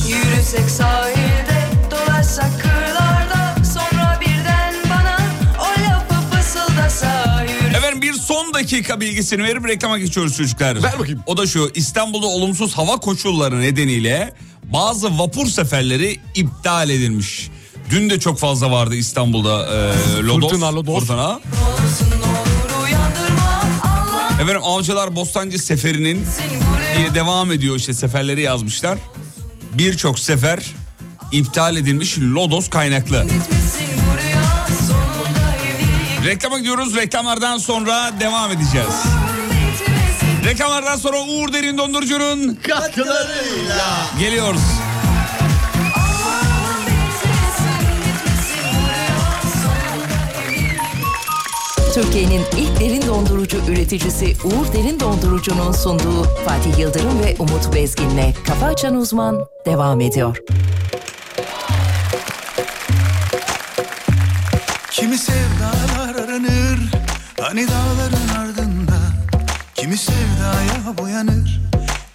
Yürüsek sahilde dolaşsak kırlarda sonra birden bana o lafı fısıldasa Yürü-
Efendim bir son dakika bilgisini verip reklama geçiyoruz çocuklar.
Ver bakayım.
O da şu İstanbul'da olumsuz hava koşulları nedeniyle bazı vapur seferleri iptal edilmiş. Dün de çok fazla vardı İstanbul'da e, lodos,
Fırtına, lodos.
fırtına.
olsun olur uyandırma Allah
Efendim Avcılar Bostancı seferinin
seni buraya
diye devam ediyor işte seferleri yazmışlar. Birçok sefer iptal edilmiş lodos kaynaklı.
gitmesin buraya sonunda evlilik
Reklama gidiyoruz. Reklamlardan sonra devam edeceğiz. Reklamlardan sonra Uğur Derin Dondurucu'nun katkılarıyla geliyoruz.
Türkiye'nin ilk derin dondurucu üreticisi Uğur Derin Dondurucu'nun sunduğu Fatih Yıldırım ve Umut Bezgin'le Kafa Açan Uzman devam ediyor.
Kimi sevdalar aranır Hani dağların ardında Kimi sevdaya boyanır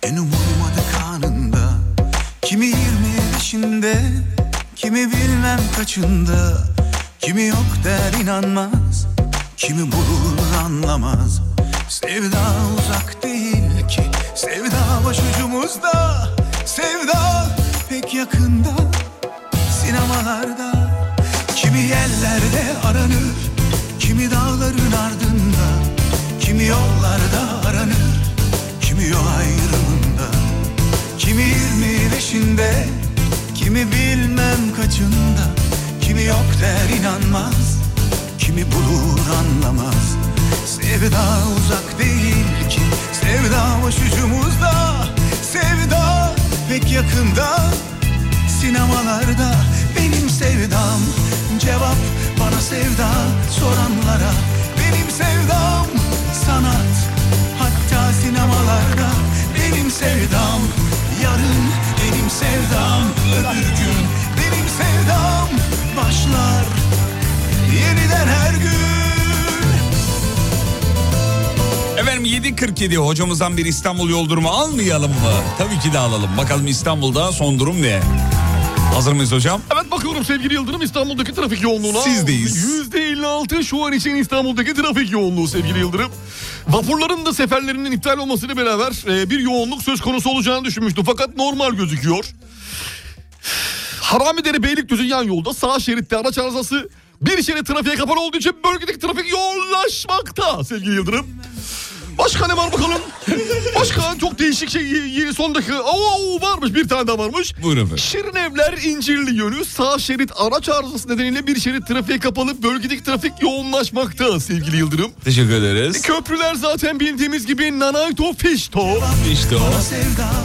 En umulmadık anında Kimi yirmi beşinde Kimi bilmem kaçında Kimi yok der inanmaz Kimi bulur anlamaz Sevda uzak değil ki Sevda başucumuzda Sevda pek yakında sinemalarda Kimi yerlerde aranır Kimi dağların ardında Kimi yollarda aranır Kimi yol ayrımında Kimi yirmi beşinde Kimi bilmem kaçında Kimi yok der inanmaz Kimi bulur anlamaz Sevda uzak değil ki Sevda başucumuzda Sevda pek yakında Sinemalarda benim sevdam Cevap bana sevda soranlara Benim sevdam sanat Hatta sinemalarda benim sevdam Yarın benim sevdam öbür gün Benim sevdam başlar Yeniden her gün
Efendim 7.47 hocamızdan bir İstanbul yoldurumu almayalım mı? Tabii ki de alalım. Bakalım İstanbul'da son durum ne? Hazır mıyız hocam?
Hemen bakıyorum sevgili Yıldırım İstanbul'daki trafik yoğunluğuna.
Sizdeyiz.
%56 şu an için İstanbul'daki trafik yoğunluğu sevgili Yıldırım. Vapurların da seferlerinin iptal olmasıyla beraber e, bir yoğunluk söz konusu olacağını düşünmüştüm. Fakat normal gözüküyor. Haramidere Beylikdüzü yan yolda sağ şeritte araç arızası Bir şerit trafiğe kapalı olduğu için bölgedeki trafik yoğunlaşmakta sevgili Yıldırım. Başka ne var bakalım? Başka çok değişik şey y- yeni son dakika. Oo, varmış bir tane daha varmış.
Buyurun efendim.
Şirin evler incirli yönü sağ şerit araç arızası nedeniyle bir şerit trafiğe kapalı bölgedeki trafik yoğunlaşmakta sevgili Yıldırım.
Teşekkür ederiz.
Köprüler zaten bildiğimiz gibi nanayto fişto.
İşte o.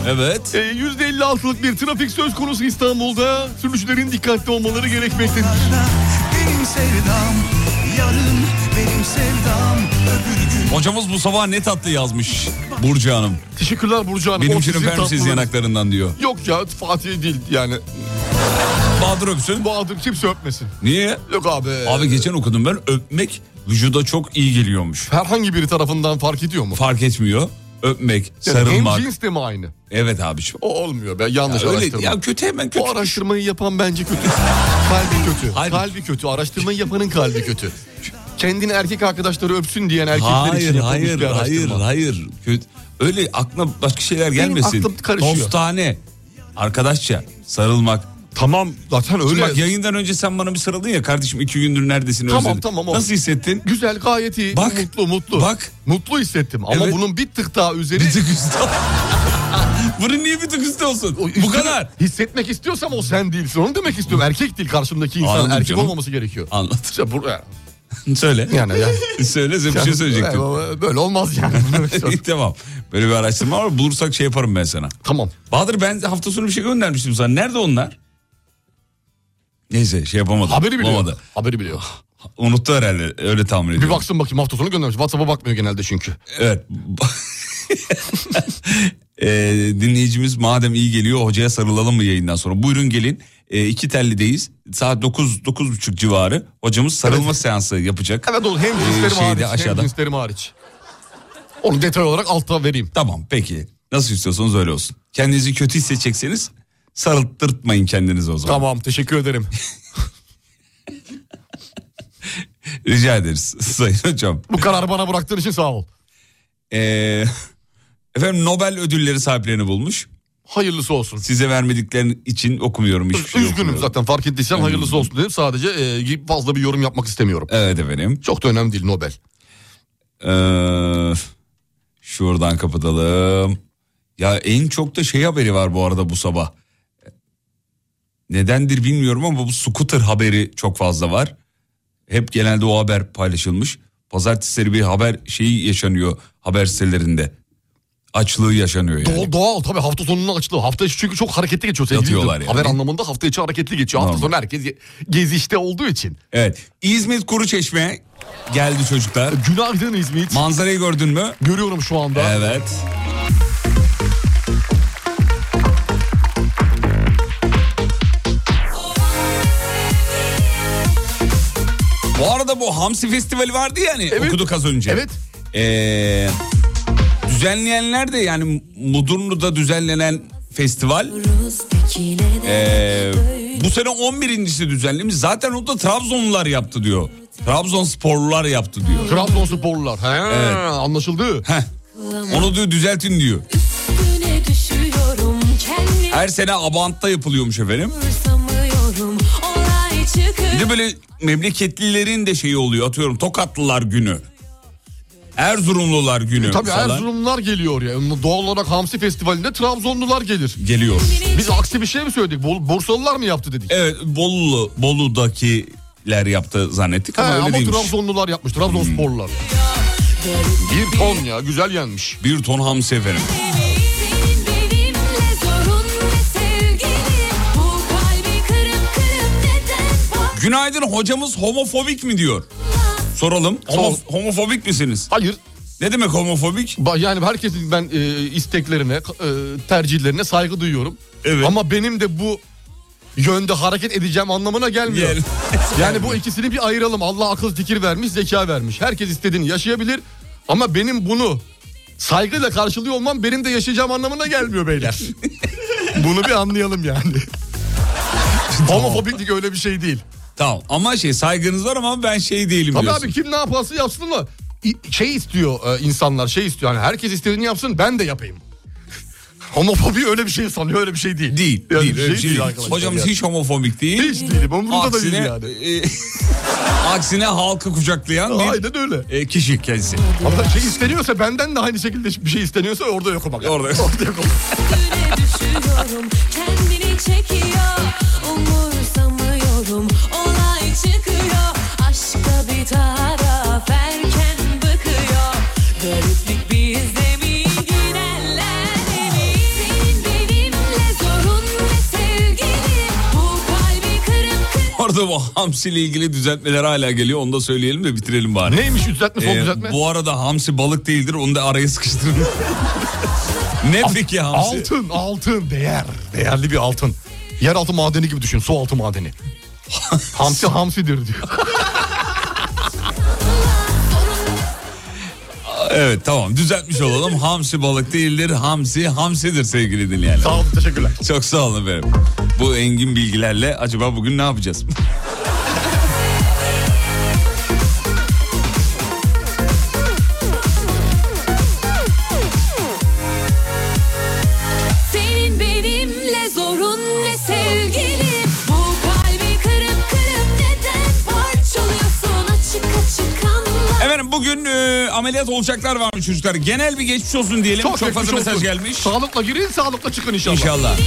Evet.
E, %56'lık bir trafik söz konusu İstanbul'da. Sürücülerin dikkatli olmaları gerekmektedir.
Benim sevdam yarın benim sevdam öbür gün
Hocamız bu sabah ne tatlı yazmış Burcu Hanım.
Teşekkürler Burcu Hanım.
Benim
O
için şey
sizin
öper misiniz
tatlılığınız.
yanaklarından diyor.
Yok ya Fatih değil yani.
Bahadır öpsün.
Bu adım kimse öpmesin.
Niye?
Yok abi.
Abi geçen okudum ben öpmek vücuda çok iyi geliyormuş.
Herhangi biri tarafından fark ediyor mu?
Fark etmiyor. Öpmek,
Yani
sarılmak.
Hem cins de mi aynı?
Evet abiciğim.
O olmuyor. Ben yanlış
Ya
araştırma.
Öyle, ya kötü hemen kötü.
O araştırmayı yapan bence kötü. kalbi kötü.
Hayır.
Kalbi kötü. Araştırmayı yapanın kalbi kötü. Kendini erkek arkadaşları öpsün diyen erkekler için
Hayır
yapılmış
hayır
bir
hayır
araştırma.
hayır. Kötü. Öyle aklına başka şeyler gelmesin.
aklım karışıyor.
Dostane. Arkadaşça sarılmak.
Tamam zaten öyle.
Şimdi Bak yayından önce sen bana bir sarıldın ya kardeşim iki gündür neredesin
Tamam,
özledim.
tamam, o.
Nasıl hissettin?
Güzel gayet iyi.
Bak,
mutlu mutlu.
bak.
Mutlu hissettim ama
Evet.
bunun bir tık daha üzeri.
Bir tık üstü. *laughs* Bunun niye bir tık üstü olsun?
O üstüne
Bu kadar.
Hissetmek istiyorsam o sen değilsin. Onu demek istiyorum. Erkek değil karşımdaki insan.
Anladım
erkek
canım.
olmaması gerekiyor.
Anlat.
İşte buraya.
Söyle.
Yani
*laughs*
ya.
Söyle sen bir şey söyleyecektim. şey
Yani Böyle olmaz
*laughs*
yani.
İyi, tamam. Böyle bir araştırma var. Bulursak şey yaparım ben sana.
*laughs* tamam.
Bahadır ben hafta sonu bir şey göndermiştim sana. Nerede onlar? Neyse şey yapamadım.
Haberi biliyor.
Bulamadı.
Haberi biliyor.
Unuttu herhalde. Öyle tahmin
Bir
ediyorum.
baksın bakayım hafta sonu göndermiş. WhatsApp'a bakmıyor genelde çünkü.
Evet. Ee, dinleyicimiz madem iyi geliyor hocaya sarılalım mı yayından sonra? Buyurun gelin. Ee, iki tellideyiz. Saat 9 buçuk civarı hocamız sarılma seansı yapacak.
Evet oğlum hem cinslerim
Ee, şeyde
hariç.
aşağıda.
Hem cinslerim hariç. Onu detay olarak altta vereyim.
Tamam peki. Nasıl istiyorsanız öyle olsun. Kendinizi kötü hissedecekseniz sarıltırtmayın kendinizi o zaman.
Tamam teşekkür ederim.
Rica ederiz *laughs* sayın hocam.
Bu kararı bana bıraktığın için sağ ol.
Ee, efendim Nobel ödülleri sahiplerini bulmuş.
Hayırlısı olsun.
Size vermediklerin için okumuyorum hiçbir şey
Üzgünüm
okumuyorum.
zaten fark ettiysen hayırlısı olsun dedim. Sadece e, fazla bir yorum yapmak istemiyorum.
Evet efendim.
Çok da önemli değil Nobel.
Ee, şuradan kapatalım. Ya en çok da şey haberi var bu arada bu sabah. Nedendir bilmiyorum ama bu scooter haberi çok fazla var. Hep genelde o haber paylaşılmış. Pazartesileri bir haber şeyi yaşanıyor haber sitelerinde. Açlığı yaşanıyor
Doğal,
yani.
doğal tabii hafta sonunun açlığı. Hafta içi çünkü çok hareketli geçiyor sevgili
Yatıyorlar
dinleyiciler.
yani.
Haber anlamında hafta içi hareketli geçiyor. Hafta
Normal.
sonu herkes ge- gezişte olduğu için.
Evet. İzmit Kuruçeşme geldi çocuklar.
Günaydın İzmit.
Manzarayı gördün mü?
Görüyorum şu anda.
Evet. Bu arada bu Hamsi Festivali vardı yani
Evet.
okuduk az önce.
Evet.
Ee, düzenleyenler de yani Mudurnu'da düzenlenen festival. Ee, bu sene 11.si düzenlemiş. Zaten onu da Trabzonlular yaptı diyor. Trabzonsporlular yaptı diyor.
Trabzonsporlular. He, anlaşıldı.
Heh. Onu diyor düzeltin diyor.
Üstüne düşüyorum kendimi
Her sene Abant'ta yapılıyormuş efendim.
sanmıyorum olay
Bir
çıkıyor
de böyle memleketlilerin de şeyi oluyor. Atıyorum Tokatlılar günü. Erzurumlular günü
Tabii
falan
Erzurumlular geliyor ya. Doğal olarak Hamsi Festivali'nde Trabzonlular gelir.
geliyor.
Biz aksi bir şey mi söyledik? Bol- Bursalılar mı yaptı dedik?
Evet Bolu Bolu'dakiler yaptı zannettik
He,
ama öyle
ama
değilmiş. Hmm.
Trabzonlular yapmış. Trabzonsporlular. Bir ton ya güzel yenmiş.
Bir ton hamsi efendim.
Senin benimle zorun ve sevgili Bu kalbi kırıp kırıp neden patla
Günaydın hocamız homofobik mi diyor? Soralım. Homo-
Sor.
Homofobik misiniz?
Hayır.
Ne demek homofobik?
ba- Yani herkesin ben e, isteklerine, ka- e, tercihlerine saygı duyuyorum.
Evet.
Ama benim de bu yönde hareket edeceğim anlamına gelmiyor.
*laughs* Gel.
Yani bu ikisini bir ayıralım. Allah akıl fikir vermiş, zeka vermiş. Herkes istediğini yaşayabilir. Ama benim bunu saygıyla karşılıyor olmam benim de yaşayacağım anlamına gelmiyor
*laughs*
beyler. bunu bir anlayalım yani. Homofobiklik öyle bir şey değil.
Tamam ama şey saygınız var ama ben şey değilim
Tabii
diyorsun.
abi kim ne yaparsa yapsın ama i- şey istiyor e, insanlar şey istiyor. Yani herkes istediğini yapsın ben de yapayım. Homofobi öyle bir şey sanıyor öyle bir şey değil.
Değil.
Yani
değil,
bir
öyle bir şey değil.
arkadaşlar
Hocamız
yani.
hiç homofobik değil.
Hiç değilim, umurumda da değil
Aksine,
yani.
e, *laughs* Aksine halkı kucaklayan bir
Aynen öyle.
e, kişi kendisi.
Ama şey isteniyorsa benden de aynı şekilde bir şey isteniyorsa orada yokum bak.
Orada *laughs* yokum.
orada yokum.
Üstüne düşüyorum Kendini çekiyor Umursamıyorum Olay çıkıyor Aşka bir taraf Erken bıkıyor Gariplik bizde mi Gidenler mi Senin benimle zorun ve sevgili Bu kalbi kırıp kırıp
Orada bu hamsiyle ilgili düzeltmeler hala geliyor. Onu da söyleyelim de bitirelim bari.
Neymiş düzeltme son
Ee,
düzeltme?
bu arada hamsi balık değildir. Onu da araya sıkıştırın. *laughs* ne peki hamsi?
Altın altın değer. Değerli bir altın. Yeraltı madeni gibi düşün su altı
*laughs*
madeni. hamsi hamsidir diyor.
Evet tamam düzeltmiş olalım. hamsi balık değildir. Hamsi hamsidir sevgili dinleyenler.
Sağ olun teşekkürler.
Çok sağ olun efendim. Bu engin bilgilerle acaba bugün ne yapacağız? *laughs*
Senin benimle zorun ne sevgili Bu kalbi kırıp kırıp neden parçalıyorsun açık açık anla
Efendim bugün e, ameliyat olacaklar varmış çocuklar. Genel bir geçmiş olsun diyelim. Çok,
geçmiş
fazla mesaj
olsun.
gelmiş.
Sağlıkla girin sağlıkla çıkın inşallah.
İnşallah.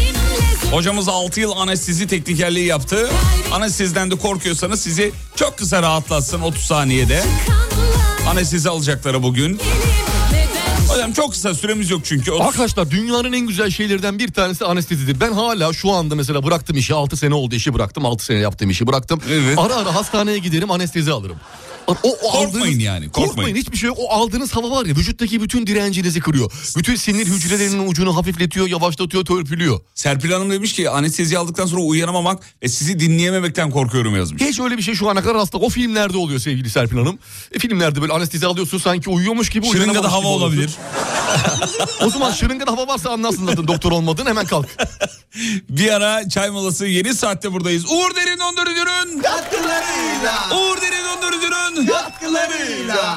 Hocamız 6 yıl anestezi teknikerliği yaptı. Anesteziden de korkuyorsanız sizi çok kısa rahatlatsın 30 saniyede.
kanla
Anestezi alacakları bugün.
Neden
Hocam çok kısa süremiz yok çünkü. Otuz-
Arkadaşlar dünyanın en güzel şeylerinden bir tanesi anestezidir. Ben hala şu anda mesela bıraktım işi 6 sene oldu işi bıraktım 6 sene yaptığım işi bıraktım.
Evet.
Ara ara hastaneye giderim anestezi alırım. O, o
Korkmayın yani, korkmayın.
hiçbir şey yok. O aldığınız hava var ya vücuttaki bütün direncinizi kırıyor. Bütün sinir hücrelerinin ucunu hafifletiyor, yavaşlatıyor, törpülüyor.
Serpil Hanım demiş ki anestezi aldıktan sonra uyanamamak ve sizi dinleyememekten korkuyorum yazmış.
Hiç öyle bir şey şu ana kadar hasta. O filmlerde oluyor sevgili Serpil Hanım. E, filmlerde böyle anestezi alıyorsun sanki uyuyormuş gibi uyanamamış
Şırıngada
gibi
hava
oluyorsun.
olabilir.
*laughs* O zaman şırıngada hava varsa anlarsın zaten doktor olmadın hemen kalk.
Bir ara çay molası yeni saatte buradayız. Uğur Derin Dondurucu'nun
Katkılarıyla
Uğur Derin Dondurucu'nun
Katkılarıyla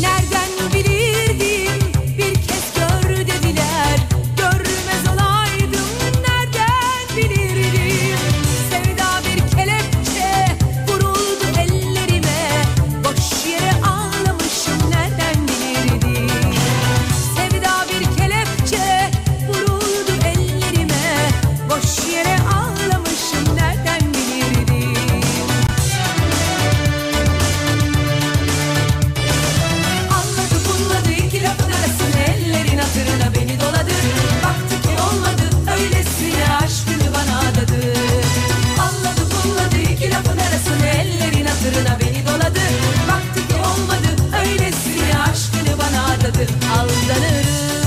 Nereden bilirdim bir kez gör dediler Görmez olaydım nereden bilirdim Sevda bir kelepçe vuruldu ellerime Boş yere ağlamışım nereden bilirdim Sevda bir kelepçe vuruldu ellerime Boş yere ağlamışım nereden bilirdim Anladı bunladı iki lafın arasını ellerin hatırına beni doladı Baktı ki olmadı öylesine aşkını bana adadı Anladı bunladı iki lafın arasını ellerin hatırına beni doladı Baktı ki olmadı öylesine aşkını bana adadı Aldanırım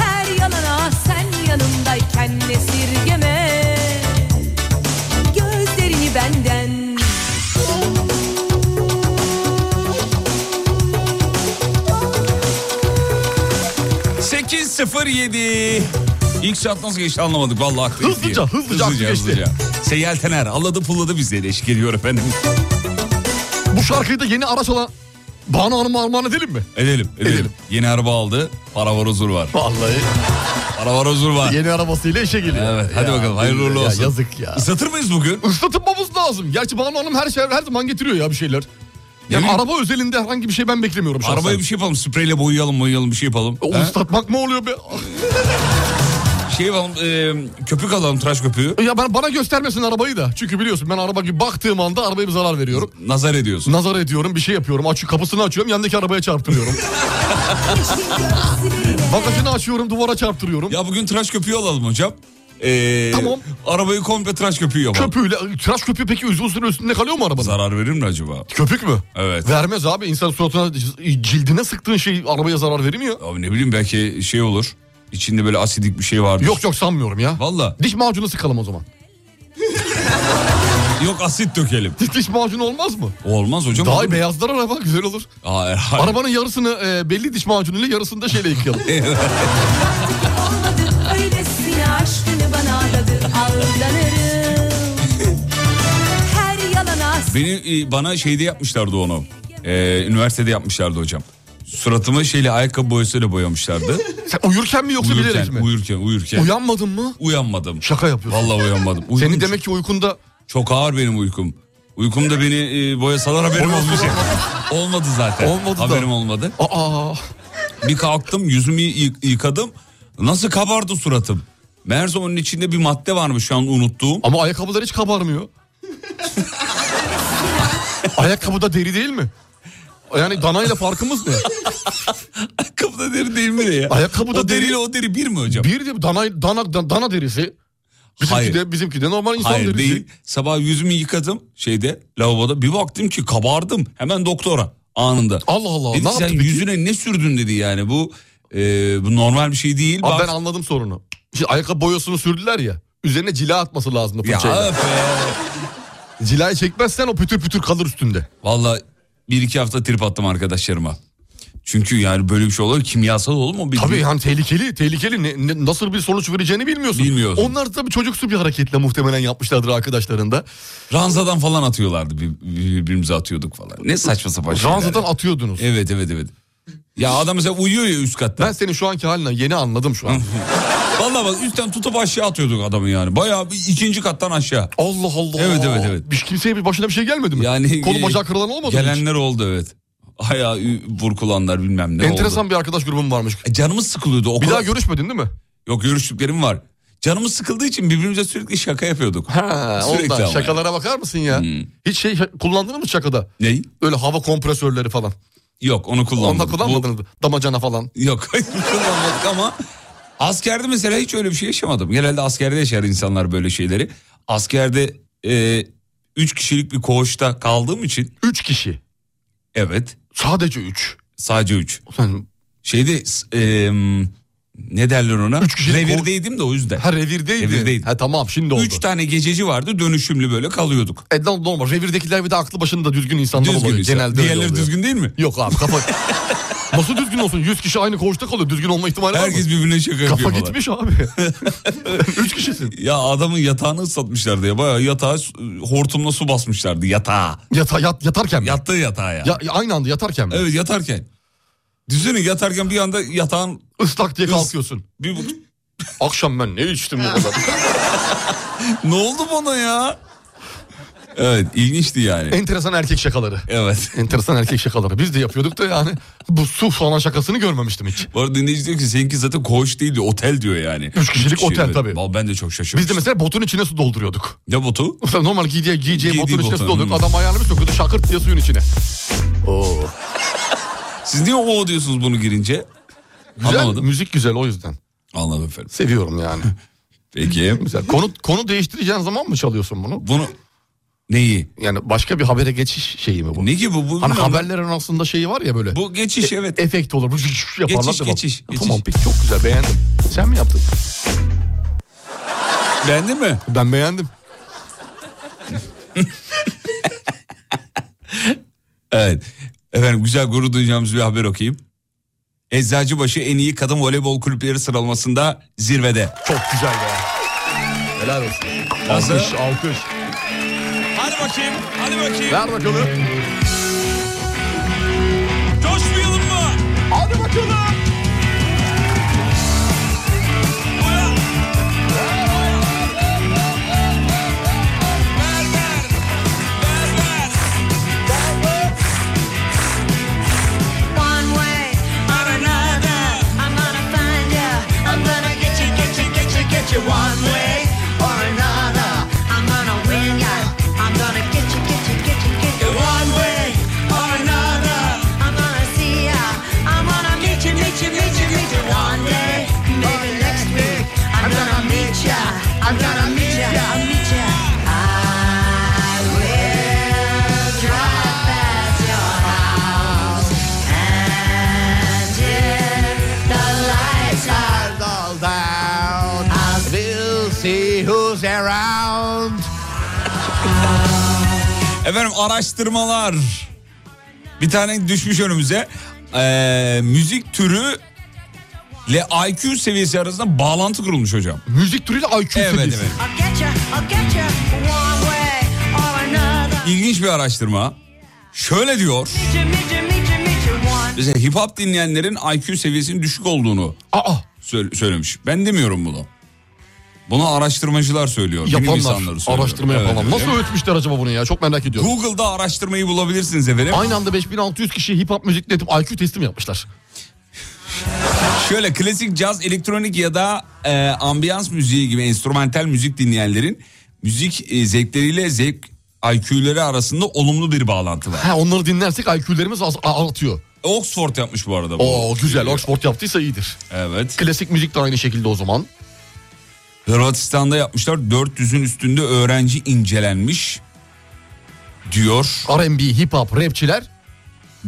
her yalana sen yanımdayken esirgeme Gözlerini benden
Uğur- 807. İlk saat nasıl geçti anlamadık vallahi aklıyız
Hızlıca, hızlıca geçti.
Seyyal Tener alladı pulladı bizleri eşlik ediyor efendim.
Bu şarkıyı da yeni araç olan Banu Hanım'a armağan edelim mi?
Edelim, edelim.
Edelim.
Yeni araba aldı. Para var huzur var.
Vallahi
Para var huzur var.
yeni arabasıyla işe geliyor.
Evet, hadi bakalım, hayırlı uğurlu
ya,
olsun.
Yazık ya.
Islatır mıyız bugün?
Islatılmamız lazım. Gerçi Banu Hanım her şey her zaman getiriyor ya bir şeyler. Yani
bileyim.
araba özelinde herhangi bir şey ben beklemiyorum şahsen.
Arabaya bir şey yapalım. Spreyle boyayalım boyayalım bir şey yapalım.
O
Ha?
ıslatmak mı oluyor be?
şey alalım e, köpük alalım tıraş köpüğü.
Ya ben, bana göstermesin arabayı da. Çünkü biliyorsun ben araba gibi baktığım anda arabaya bir zarar veriyorum.
Nazar ediyorsun.
Nazar ediyorum bir şey yapıyorum. Aç, kapısını açıyorum yandaki arabaya çarptırıyorum. Bagajını açıyorum duvara çarptırıyorum.
Ya bugün tıraş köpüğü alalım hocam. E,
Tamam.
Arabayı komple tıraş köpüğü yapalım.
Köpüğüyle, tıraş köpüğü peki uzun süre üstünde kalıyor mu arabanın?
Zarar verir mi acaba?
Köpük mü?
Evet.
Vermez abi insan suratına cildine sıktığın şey arabaya zarar vermiyor.
Abi ne bileyim belki şey olur. İçinde böyle asidik bir şey vardır.
Yok yok sanmıyorum ya.
Valla.
Diş macunu sıkalım o zaman. *laughs*
Yok asit dökelim.
Diş macunu olmaz mı?
Olmaz hocam.
Daha
Olur mu?
beyazlar araba güzel olur.
Aa, e, hayır.
Arabanın yarısını e, belli diş macunuyla yarısını da şeyle yıkayalım.
E,
olmadı Öylesine aşkını bana adadı Aldanırım Her yalana
Beni e, bana şeyde yapmışlardı onu. Ee, üniversitede yapmışlardı hocam. Suratımı şeyle ayakkabı
*laughs*
boyasıyla boyamışlardı.
Sen uyurken mi yoksa bilerek
uyurken,
mi?
uyurken, uyurken.
Uyanmadın mı?
uyanmadım.
Şaka yapıyorsun.
Vallahi uyanmadım. Uyudum.
Senin demek ki uykunda
Çok ağır benim uykum. Uykumda beni e, boyasalar haberim olmuş.
*laughs*
ya. Olmadı zaten.
Olmadı da.
haberim olmadı.
aa
Bir kalktım yüzümü yı- yıkadım. Nasıl kabardı suratım? Meğerse onun içinde bir madde varmış şu an unuttuğum. *laughs*
ama ayakkabılar hiç kabarmıyor. Ayakkabı da deri değil mi? Yani danayla farkımız ne?
Ayakkabıda deri değil mi ne ya?
Ayakkabıda deri-
o deriyle o deri bir mi hocam?
Bir de dana, dana, da- dana derisi. Bizimki
Hayır.
de bizimki de normal insan
Hayır
derisi.
değil. Sabah yüzümü yıkadım şeyde lavaboda. Bir baktım ki kabardım. Hemen doktora anında.
Allah Allah,
Dedi
ne
ki, sen
yaptı peki?"
yüzüne ne sürdün dedi yani bu e, bu normal bir şey değil.
Abi
Bak-
ben anladım sorunu. Şimdi ayakkabı boyasını sürdüler ya. Üzerine cila atması lazımdı
ya
fırçayla.
öf be.
Cilayı çekmezsen o pütür pütür kalır üstünde.
Valla bir iki hafta trip attım arkadaşlarıma. Çünkü yani böyle bir şey olur kimyasal olur mu? Bir,
Tabii yani tehlikeli, tehlikeli. Ne- ne- nasıl bir sonuç vereceğini bilmiyorsun.
Bilmiyorsun.
Onlar tabii çocuksu bir hareketle muhtemelen yapmışlardır arkadaşlarında.
Ranzadan falan atıyorlardı bir- bir- birbirimize atıyorduk falan. Ne saçma sapan şeyler.
Ranzadan atıyordunuz.
Evet evet evet. Ya adam mesela uyuyor ya üst katta.
Ben senin şu anki haline yeni anladım şu an.
Valla bak üstten tutup aşağı atıyorduk adamı yani. Bayağı bir ikinci kattan aşağı.
Allah Allah.
Evet, evet, evet.
Hiç kimseye bir başına bir şey gelmedi mi?
Yani
Kolu
e,
bacağı kırılan olmadı mı hiç?
Gelenler oldu evet. Ayağı ü- vurkulanlar bilmem ne
Enteresan
oldu.
bir arkadaş grubum varmış.
E, Canımız sıkılıyordu. O
Bir
kadar-
daha görüşmedin değil mi?
Yok görüştüklerim var. Canımız sıkıldığı için birbirimize sürekli şaka yapıyorduk.
Ha,
sürekli
ondan.
ama yani.
Şakalara bakar mısın ya?
Hmm.
Hiç şey kullandın mı şakada?
Ney?
Öyle hava kompresörleri falan.
Yok onu kullanmadım.
Onda kullanmadınız mı? Damacana falan.
Bu- Yok *laughs* kullanmadık ama askerde mesela hiç öyle bir şey yaşamadım. Genelde askerde yaşar insanlar böyle şeyleri. Askerde e, üç kişilik bir koğuşta kaldığım için
Üç kişi.
evet
Sadece üç.
sadece üç.
Sen
Şeyde s- e, ne derler ona?
Üç kişilik koğuş-
Revirdeydim de o yüzden.
ha revirdeydi.
Revirdeydi.
Ha tamam şimdi oldu.
Üç tane gececi vardı dönüşümlü böyle kalıyorduk.
E, lan normal. Revirdekiler bir de aklı başında düzgün insanlar
Düzgün
oluyor.
insan.
Genelde öyle
Diğerleri
oluyor.
düzgün değil mi?
Yok abi kafa... *laughs* Nasıl düzgün olsun? Yüz kişi aynı koğuşta kalıyor. Düzgün olma ihtimali var
Herkes
mı?
birbirine şaka
Kafa
yapıyor falan.
gitmiş
*laughs*
abi. Üç kişisin.
Ya adamın yatağını ıslatmışlardı ya. Bayağı yatağa su- hortumla su basmışlardı yatağa.
Yata, yat, yatarken mi?
Yattığı yatağa ya.
Ya, ya aynı anda yatarken mi?
Evet yatarken. Düşünün yatarken bir anda yatağın
Islak diye
Is-
kalkıyorsun.
bir...
Akşam ben ne içtim bu kadar? *laughs*
ne oldu bana ya? Evet ilginçti yani.
Enteresan erkek şakaları.
Evet.
Enteresan erkek şakaları. Biz de yapıyorduk da yani bu su falan şakasını görmemiştim hiç.
Bu arada dinleyici diyor ki seninki zaten koğuş değil diyor otel diyor yani.
Üç kişilik otel
evet.
tabii.
Vallahi Ben de çok şaşırmıştım.
Biz de mesela botun içine su dolduruyorduk. *laughs*
Ne botu?
Mesela normal giydiği, giyeceği
Giydiği
botun içine
botun,
su dolduruyorduk.
hmm.
Adam ayağını bir sokuyordu şakırt diye suyun içine. Oo.
Siz niye o diyorsunuz bunu girince?
Güzel,
Anlamadım.
müzik güzel o yüzden.
Anladım efendim.
Seviyorum yani.
Peki.
*laughs* Güzel. Konu, konu değiştireceğin zaman mı çalıyorsun bunu?
Bunu neyi?
Yani başka bir habere geçiş şeyi mi bu?
Ne ki bu? bu
Hani E-
bilmiyorum.
haberlerin aslında şeyi var ya böyle.
Bu geçiş evet.
Efekt olur. Yaparlar
Geçiş,
devam.
geçiş, geçiş.
Tamam peki çok güzel beğendim. Sen mi yaptın?
Beğendin mi?
Ben beğendim.
Evet. Efendim güzel gurur duyacağımız bir haber okuyayım. Eczacıbaşı en iyi kadın voleybol kulüpleri sıralamasında zirvede.
Çok güzel be. Helal olsun.
Nasıl?
Alkış, alkış.
Hadi bakayım, hadi bakayım.
Ver bakalım.
Coşmayalım mı?
Hadi bakalım.
One way or another, I'm gonna find ya. I'm gonna get you, get you, get you, get
Efendim araştırmalar. Bir tane düşmüş önümüze. Ee, müzik türü ile IQ seviyesi arasında bağlantı kurulmuş hocam. Müzik türüyle IQ
seviyesi.
Evet. İlginç bir araştırma. Şöyle diyor. Bize hip hop dinleyenlerin IQ seviyesinin düşük olduğunu söyle- söylemiş. Ben demiyorum bunu. Bunu araştırmacılar söylüyor. bilim insanları
Yapanlar.
söylüyor.
Araştırma
Evet,
yapanlar.
evet.
Nasıl öğütmüşler acaba bunu ya? Çok merak ediyorum.
Google'da araştırmayı bulabilirsiniz efendim.
Aynı anda 5600 kişi hip hop müzik dinletip IQ testi mi yapmışlar?
Şöyle klasik caz, elektronik ya da e, ambiyans müziği gibi enstrümantal müzik dinleyenlerin müzik e, zevkleriyle zevk IQ'ları arasında olumlu bir bağlantı var.
Ha onları dinlersek IQ'lerimiz az, a- artıyor.
Oxford yapmış bu arada. bu.
Oo güzel. Oxford yaptıysa iyidir.
Evet.
Klasik müzik de aynı şekilde o zaman.
Hırvatistan'da yapmışlar 400'ün üstünde öğrenci incelenmiş diyor.
R&B, hip hop, rapçiler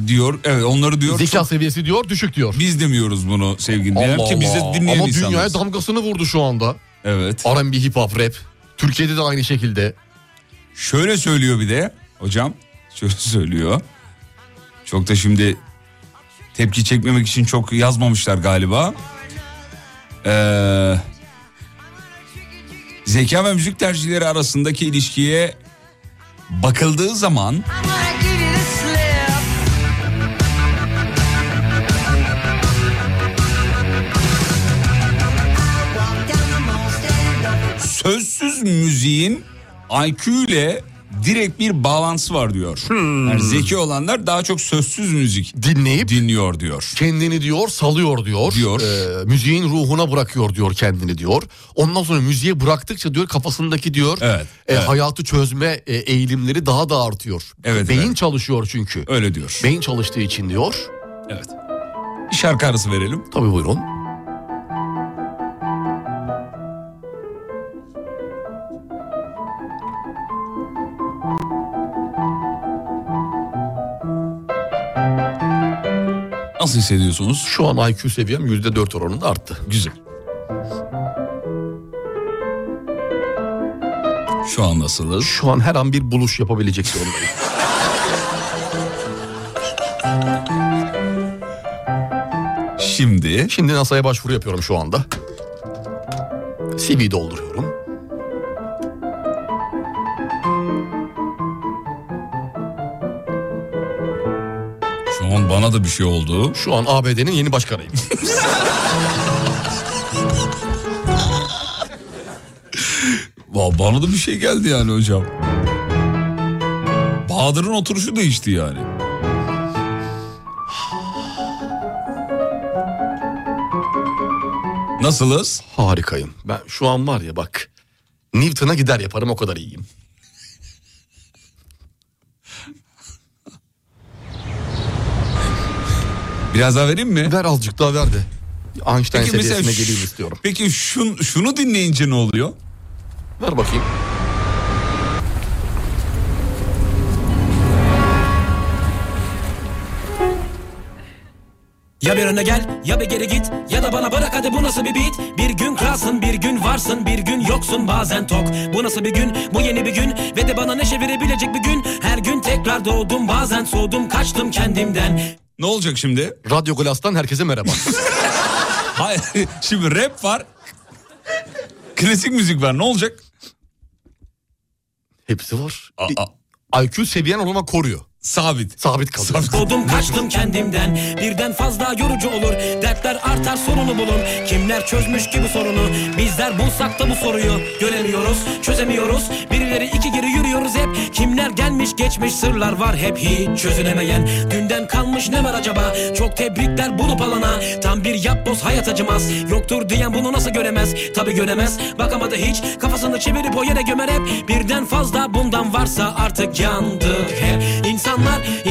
Diyor evet onları diyor.
zeka
çok-
seviyesi diyor düşük diyor.
Biz demiyoruz bunu sevgili dinleyen ki biz de dinleyen
Ama
insanlarız.
dünyaya damgasını vurdu şu anda.
Evet.
R&B, hip hop, rap. Türkiye'de de aynı şekilde.
Şöyle söylüyor bir de hocam şöyle *laughs* söylüyor. Çok da şimdi tepki çekmemek için çok yazmamışlar galiba. Ee, zeka ve müzik tercihleri arasındaki ilişkiye bakıldığı zaman sözsüz müziğin IQ ile direkt bir bağlantısı var diyor.
Hmm.
Yani zeki olanlar daha çok sözsüz müzik
dinleyip
dinliyor diyor.
Kendini diyor salıyor diyor.
Diyor.
Ee, müziğin ruhuna bırakıyor diyor kendini diyor. Ondan sonra müziğe bıraktıkça diyor kafasındaki diyor e,
evet.
hayatı çözme e, eğilimleri daha da artıyor.
Evet,
Beyin
evet.
çalışıyor çünkü.
Öyle diyor.
Beyin çalıştığı için diyor.
Evet. Bir şarkı arası verelim.
Tabii buyurun.
Nasıl hissediyorsunuz?
Şu an IQ seviyem %4 oranında arttı.
Güzel. Şu an nasılız?
Şu an her an bir buluş yapabilecek durumdayım.
Şimdi?
Şimdi NASA'ya başvuru yapıyorum şu anda. CV dolduruyorum.
Şu an bana da bir şey oldu.
Şu an ABD'nin yeni
*laughs*
başkanıyım.
Va- Bana da bir şey geldi yani hocam. Bahadır'ın oturuşu değişti yani. Nasılız?
Harikayım. Ben şu an var ya bak. Newton'a gider yaparım o kadar iyiyim.
Biraz daha vereyim mi?
Ver azıcık daha ver de. Einstein
Peki mesela
seviyesine
şu-
geleyim istiyorum.
Peki şun, şunu dinleyince ne oluyor?
Ver bakayım.
Ya bir öne gel ya bir geri git ya da bana bırak hadi bu nasıl bir beat Bir gün kralsın bir gün varsın bir gün yoksun bazen tok Bu nasıl bir gün bu yeni bir gün ve de bana neşe verebilecek bir gün Her gün tekrar doğdum bazen soğudum kaçtım kendimden
Ne olacak şimdi?
Radyo Glas'tan herkese
*laughs*
merhaba.
Hayır, *laughs* şimdi rap var. Klasik müzik var. Ne olacak?
Hepsi var.
Aa,
IQ seviyen onu ama koruyor.
sabit.
Sabit kalıyor.
*laughs* Doğdum kaçtım kendimden Birden fazla yorucu olur Dertler artar sorunu bulun Kimler çözmüş ki bu sorunu Bizler bulsak da bu soruyu Göremiyoruz çözemiyoruz Birileri iki geri yürüyoruz hep Kimler gelmiş geçmiş sırlar var hep Hiç çözülemeyen Dünden kalmış ne var acaba Çok tebrikler bulup alana Tam bir yapboz hayat acımaz Yoktur diyen bunu nasıl göremez Tabi göremez bakamadı hiç Kafasını çevirip o yere gömer hep Birden fazla bundan varsa artık yandı hep insanlar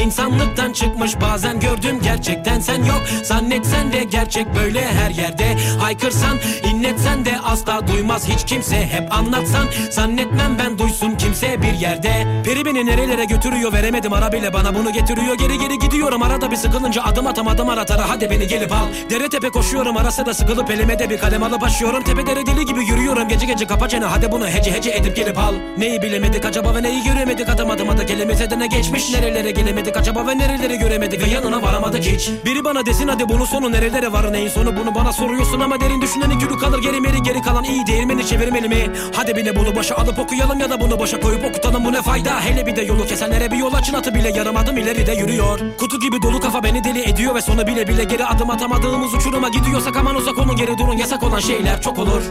insanlıktan çıkmış bazen gördüm gerçekten sen yok Zannetsen de gerçek böyle her yerde Haykırsan inletsen de asla duymaz hiç kimse Hep anlatsan zannetmem ben duysun kimse bir yerde Peri beni nerelere götürüyor veremedim arabayla bana bunu getiriyor Geri geri gidiyorum arada bir sıkılınca adım atamadım aratara hadi beni gelip al Dere tepe koşuyorum arası da sıkılıp elime de bir kalem alıp başlıyorum Tepedere deli gibi yürüyorum gece gece kapa çene hadi bunu hece hece edip gelip al Neyi bilemedik acaba ve neyi göremedik adam adıma da kelime edene geçmiş Nerelere gelemedik acaba ve nereleri göremedik ve yanına varamadık hiç Biri bana desin hadi bunun sonu nerelere var neyin sonu bunu bana soruyorsun ama derin düşüneni külü kalır geri meri geri kalan iyi değirmeni çevirmeli mi? Hadi bir de bunu başa alıp okuyalım ya da bunu başa koyup okutalım bu ne fayda Hele bir de yolu kesenlere bir yol açın atı bile yarım adım ileride yürüyor Kutu gibi dolu kafa beni deli ediyor ve sonu bile bile geri adım atamadığımız uçuruma gidiyorsak aman uzak olun geri durun yasak olan şeyler çok olur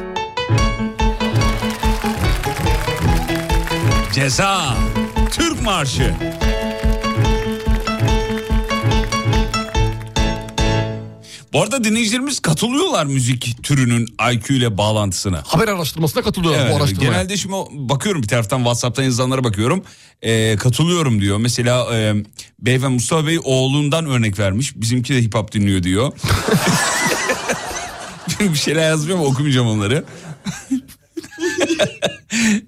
Ceza. Türk Marşı. Bu arada dinleyicilerimiz katılıyorlar müzik türünün IQ ile bağlantısına.
Haber araştırmasına katılıyorlar
Evet,
Ee, bu araştırmaya.
Genelde şimdi o- bakıyorum bir taraftan WhatsApp'tan yazılanlara bakıyorum. Ee, katılıyorum diyor. Mesela e, beyefendi Mustafa Bey oğlundan örnek vermiş. Bizimki de hip hop dinliyor diyor. *laughs* bir şeyler yazmıyor ama okumayacağım onları. *laughs*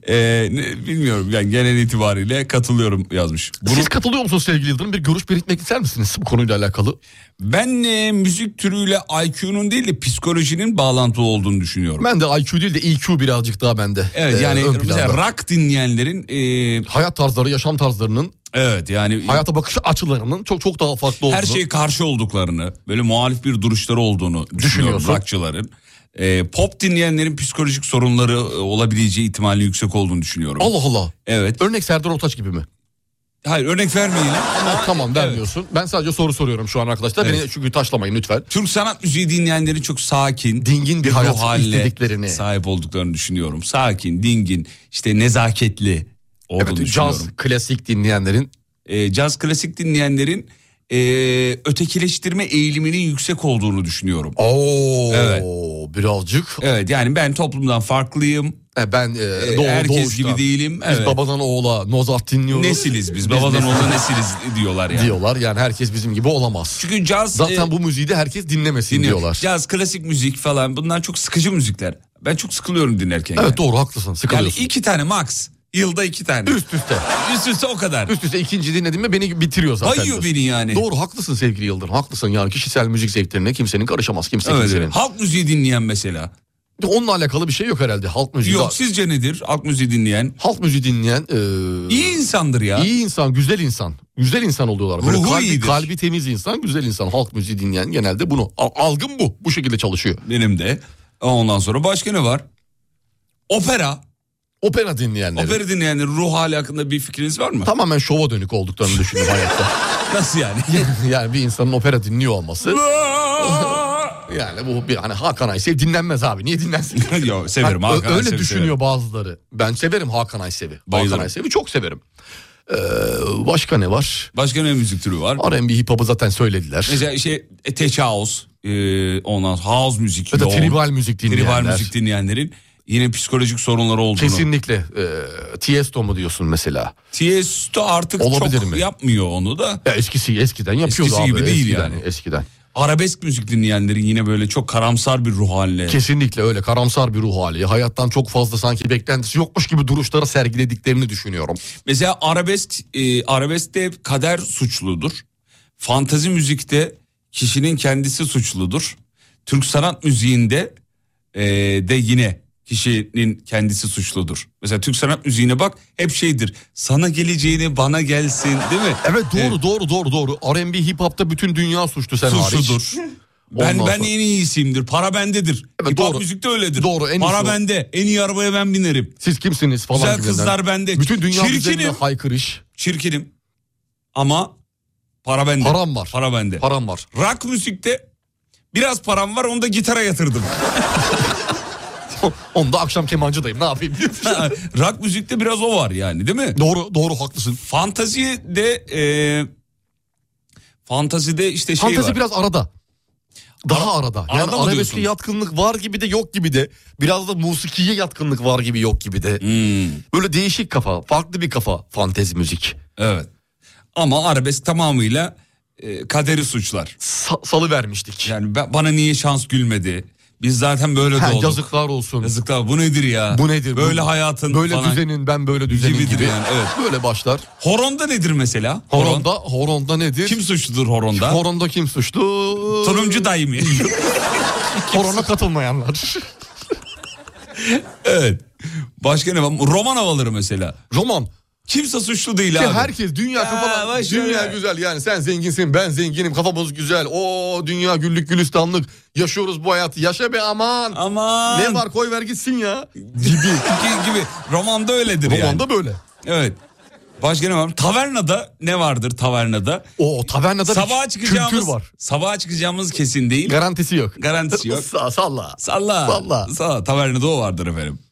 Ee, ne- bilmiyorum yani genel itibariyle katılıyorum yazmış. Bunu-
Siz katılıyor musunuz sevgili Yıldırım? Bir görüş belirtmek ister misiniz bu konuyla alakalı?
ben e, müzik türüyle IQ'nun değil de psikolojinin bağlantılı olduğunu düşünüyorum.
Ben de IQ değil de EQ birazcık daha bende.
evet
Ee,
yani
ön
mesela
planda.
rock dinleyenlerin e,
hayat tarzları, yaşam tarzlarının,
evet yani
hayata bakış açılarının çok çok daha farklı olduğunu.
her şey- şeye karşı olduklarını, böyle muhalif bir duruşları olduğunu düşünüyorum
Düşünüyorsun.
rockçıların. Ee, pop dinleyenlerin psikolojik sorunları e, olabileceği ihtimali yüksek olduğunu düşünüyorum.
Allah Allah.
Evet.
Örnek Serdar Ortaç gibi mi?
Hayır örnek vermeyin.
Ha, tamam vermiyorsun. Ben sadece soru soruyorum şu an arkadaşlar. Beni
Evet.
çünkü taşlamayın lütfen.
Türk sanat müziği dinleyenlerin çok sakin,
Dingin bir
ruh
hayat
haline
istediklerini.
sahip olduklarını düşünüyorum. Sakin, dingin, işte nezaketli olduğunu
Evet,
düşünüyorum.
caz, klasik dinleyenlerin
Ee, caz klasik dinleyenlerin e, ötekileştirme eğiliminin yüksek olduğunu düşünüyorum.
Oo,
Evet.
birazcık.
Evet yani ben toplumdan farklıyım.
E, ben e,
Ee,
doğu,
herkes
doğuştan.
gibi değilim.
Biz
Evet.
babadan oğula Mozart dinliyoruz.
Nesiliz biz. Babadan
nesiliz
oğla nesiliz diyorlar yani.
diyorlar. Yani herkes bizim gibi olamaz.
Çünkü caz
Zaten
e,
bu müziği de herkes dinlemesin
dinliyor.
diyorlar.
Caz, klasik müzik falan bunlar çok sıkıcı müzikler. Ben çok sıkılıyorum dinlerken. yani.
Evet doğru haklısın.
Yani
Sıkılıyorsun.
iki tane max. Yılda iki tane.
Üst üste.
Üst üste o kadar.
Üst üste ikinci dinledim mi beni bitiriyor zaten.
Bayıyor
diyorsun.
beni yani.
Doğru haklısın sevgili Yıldırım. Haklısın yani kişisel müzik zevklerine kimsenin karışamaz. Kimse
Evet,
kimsenin.
evet. Halk müziği dinleyen mesela.
Onunla alakalı bir şey yok herhalde. Halk müziği.
Yok sizce nedir halk müziği dinleyen?
Halk müziği dinleyen e,
İyi insandır ya.
iyi insan, güzel insan. Güzel insan oluyorlar. Böyle
Ruhu
kalbi,
iyidir.
kalbi temiz insan, güzel insan. Halk müziği dinleyen genelde bunu. Al- Algım bu. Bu şekilde çalışıyor.
Benim de. Ondan sonra başka ne var? Opera.
Opera dinleyenleri.
Opera dinleyenlerin ruh hali hakkında bir fikriniz var mı?
Tamamen şova dönük olduklarını düşünüyorum hayatta. *laughs*
Nasıl yani? *laughs*
yani bir insanın opera dinliyor olması. Yani bu bir hani Hakan Aysev dinlenmez abi. Niye dinlensin?
*laughs* Yok severim.
Ha, ö-
Hakan
öyle
Aysel'i
düşünüyor
severim.
bazıları. Ben severim Hakan Aysel'i. Hakan
Bayılırım.
Aysel'i çok severim. Ee, başka ne var?
Başka ne müzik türü var?
R&B hip hop'u zaten söylediler.
Mesela şey e, Tech House, e, ondan sonra house müzik,
Ya da
yoğun,
tribal müzik
tribal
dinleyenler.
müzik dinleyenlerin yine psikolojik sorunları olduğunu.
Kesinlikle. Ee, Tiesto mu diyorsun mesela?
Tiesto artık
Olabilir
çok
mi?
yapmıyor onu da.
Ya eskisi eskiden yapıyordu
Eskisi
abi.
gibi değil
eskiden,
yani.
Eskiden.
Arabesk müzik dinleyenlerin yine böyle çok karamsar bir ruh haline.
Kesinlikle öyle karamsar bir ruh hali. Hayattan çok fazla sanki beklentisi yokmuş gibi duruşları sergilediklerini düşünüyorum.
Mesela arabesk, e, arabeskte kader suçludur. Fantazi müzikte kişinin kendisi suçludur. Türk sanat müziğinde e, de yine kişinin kendisi suçludur. Mesela Türk sanat müziğine bak hep şeydir. Sana geleceğini bana gelsin değil mi? E,
Evet doğru
Evet.
doğru doğru doğru. R&B hip hop'ta bütün dünya suçlu sen hariç.
Suçludur. Ben
Ondan
ben
sonra-
en iyisiyimdir. Para bendedir.
Evet,
Hip hop
doğru.
müzikte öyledir.
Doğru, en
Para
iyisi o.
bende. En iyi arabaya ben binerim.
Siz kimsiniz falan
Güzel
gibinden.
kızlar bende.
Bütün dünya
Çirkinim.
üzerine haykırış.
Çirkinim. Ama para bende.
Param var.
Para bende.
Param var.
Rock müzikte biraz param var onu da
*laughs*
gitara yatırdım. *laughs*
Onda akşam kemancıdayım ne
*laughs*
yapayım?
Rock müzikte biraz o var yani değil mi?
doğru doğru haklısın.
Fantazide e, fantazide işte şey
Fantezi
var.
biraz arada. Daha arada. Yani
arada mı
arabeske
diyorsun?
yatkınlık var gibi de yok gibi de. Biraz da musikiye yatkınlık var gibi yok gibi de.
Hmm,
Böyle değişik kafa, farklı bir kafa fantezi müzik.
evet. Ama arabesk tamamıyla e, kaderi suçlar.
salı vermiştik.
Yani ben- bana niye şans gülmedi? Biz zaten böyle
Ha,
doğduk.
yazıklar olsun.
Yazıklar bu nedir ya?
Bu nedir?
Böyle
Bu-
hayatın
Böyle
falan.
düzenin ben böyle düzenin
Gibidir
gibi.
yani, evet.
Böyle başlar.
Horonda nedir mesela? Horon.
Horonda, horonda nedir?
Kim suçludur horonda?
Horonda kim suçlu?
Turuncu
*laughs*
dayı mı?
Horona katılmayanlar.
evet. Başka ne var? Roman havaları mesela.
Roman.
Kimse suçlu değil
Ki
abi.
herkes dünya kafalar,
başarı.
dünya güzel yani sen zenginsin ben zenginim kafamız güzel o dünya güllük gülistanlık yaşıyoruz bu hayatı yaşa be aman
Aman.
ne var koy ver gitsin ya gibi
Ki- gibi. Romanda öyledir yani.
romanda böyle
Evet. Başka ne var? Tavernada ne vardır tavernada?
o tavernada
Sabaha
bir kültür
çıkacağımız
var
Sabaha çıkacağımız kesin değil.
garantisi yok
Garantisi yok. şey
Sa- salla
Salla.
Salla.
Salla. Tavernada o vardır efendim. *laughs*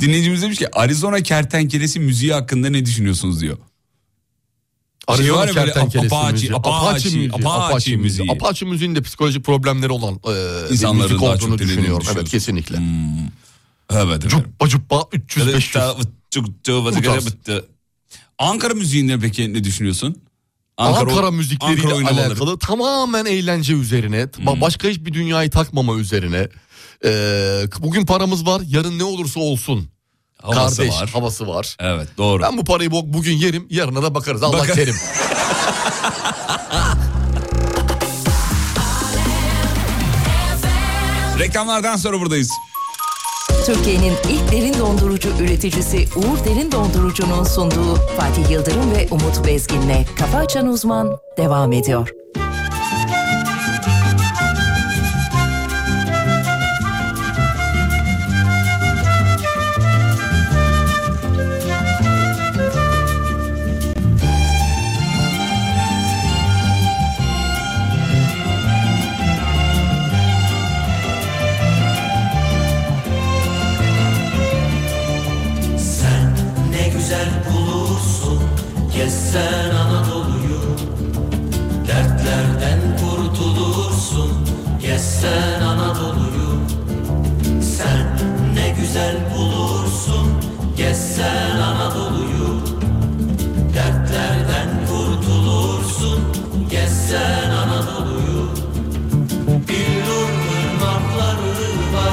Dinleyicimiz demiş ki Arizona kertenkelesi müziği hakkında ne düşünüyorsunuz diyor. Şey var
Arizona
ya böyle
kertenkelesi
Apache,
müziği.
Apache, Apache
Apache
müziği.
müziği. Apache müziğin de psikolojik problemleri olan e, bir
İnsanların
müzik
daha çok
olduğunu
dinlediğini Hmm.
düşünüyorum. Evet
düşünüyorsun.
kesinlikle.
Evet efendim.
Cuppa cuppa 300 500. Bu tarz.
Ankara müziğinde peki ne düşünüyorsun?
Ankara,
Ankara
müzikleriyle
Ankara oynamaları. Hmm.
alakalı tamamen eğlence üzerine, ba- başka hiçbir dünyayı takmama üzerine. e, bugün paramız var, yarın ne olursa olsun.
Havası
kardeş
var.
havası var.
Evet doğru.
Ben bu parayı bu- bugün yerim, yarına da bakarız. Allah
Bakar-
kerim.
Reklamlardan sonra buradayız.
Türkiye'nin ilk derin dondurucu üreticisi Uğur Derin Dondurucu'nun sunduğu Fatih Yıldırım ve Umut Bezgin'le Kafa Açan Uzman devam ediyor.
Sen ne güzel bulursun Gezsen Anadolu'yu Dertlerden kurtulursun Gezsen Anadolu'yu Sen ne güzel bulursun Gezsen Anadolu'yu Dertlerden kurtulursun Gezsen Anadolu'yu Billur ırmakları var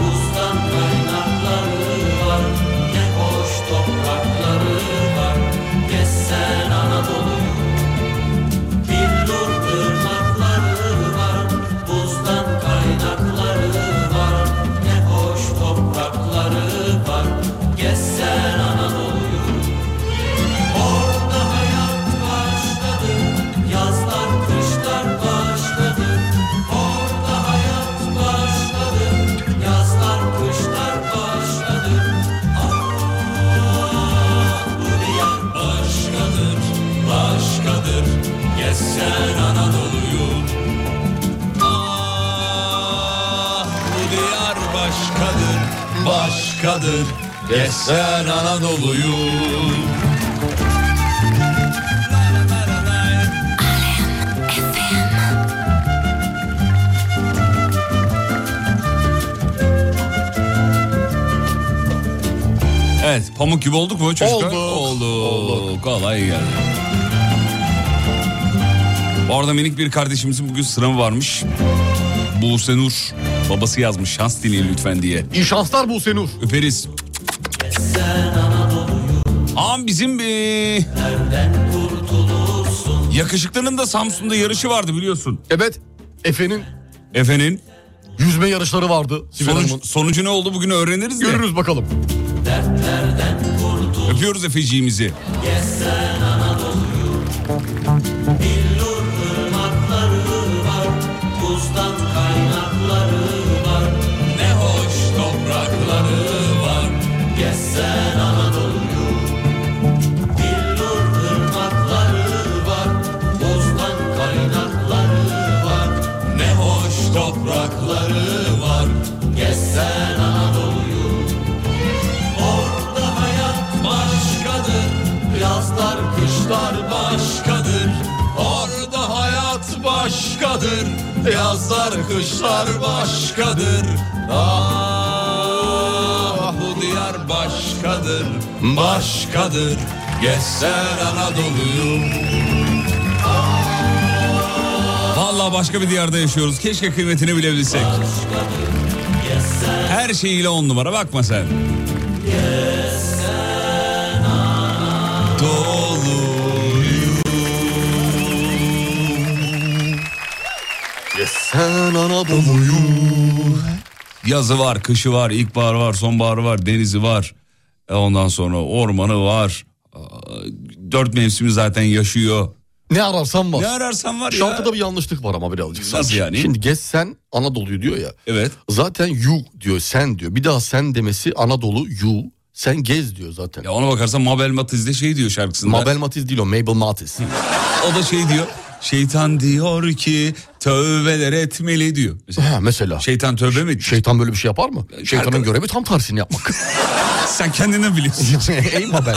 Buzdan kaynakları var Ne hoş toprakları var Gezsen Anadolu'yu Billur ırmakları var Buzdan kaynakları var Ne hoş toprakları var Gezsen Anadolu'yu Orada hayat başladı Yazlar kışlar başladı Orada hayat başladı Yazlar kışlar başladı Ah bu diyar başkadır Başkadır Gezsen Anadolu'yu Ah bu diyar başkadır Başkadır Gezsen Anadolu'yu Evet pamuk gibi olduk mu çocuklar?
Olduk.
Olduk. Kolay geldi. Bu arada minik bir kardeşimizin bugün sınavı varmış. Buse Nur. Babası yazmış şans dileyin lütfen diye.
İyi şanslar bu Senur.
Öperiz. Ağam bizim eee, yakışıklının da Samsun'da yarışı vardı biliyorsun.
Evet, Efe'nin
Efendim
yüzme yarışları vardı. Sibel Hanım'ın.
sonuç, sonucu ne oldu bugün öğreniriz de.
Görürüz bakalım.
Öpüyoruz Efeciğimizi.
Buzdan kaynakları var Ne hoş toprakları var Gezsen Anadolu'yu Billur ırmakları var Buzdan kaynakları var Ne hoş toprakları var Gezsen Anadolu'yu Orada hayat başkadır Yazlar kışlar başkadır Orada hayat başkadır Yazlar kışlar başkadır Ah bu diyar başkadır
başkadır, başkadır. Geçser Anadolu'yu. Vallahi başka bir diyarda yaşıyoruz. Keşke kıymetini bilebilsek. Her şeyiyle on numara bakma sen.
Sen Anadolu'yu.
Yazı var, kışı var, ilkbahar var, sonbaharı var, denizi var. E Ondan sonra ormanı var. Aa, Dört mevsimi zaten yaşıyor.
Ne ararsan var.
Ne ararsan var ya.
Şarkıda bir yanlışlık var ama birazcık.
Nasıl
sanki.
yani?
Şimdi geç sen Anadolu'yu diyor ya.
Evet.
Zaten you diyor sen diyor. Bir daha sen demesi Anadolu you. Sen gez diyor zaten.
Ya ona bakarsan Mabel Matiz de şey diyor şarkısında.
Mabel Matiz değil o Mabel Matiz.
O da şey diyor. Şeytan diyor ki tövbeler etmeli diyor. Mesela,
ha, mesela.
şeytan tövbe mi?
Şeytan böyle bir şey yapar mı? Şeytanın
Şey- Şarkı-
görevi tam tersini
*laughs*
yapmak. *laughs*
Sen kendinden biliyorsun.
Ey Mabel.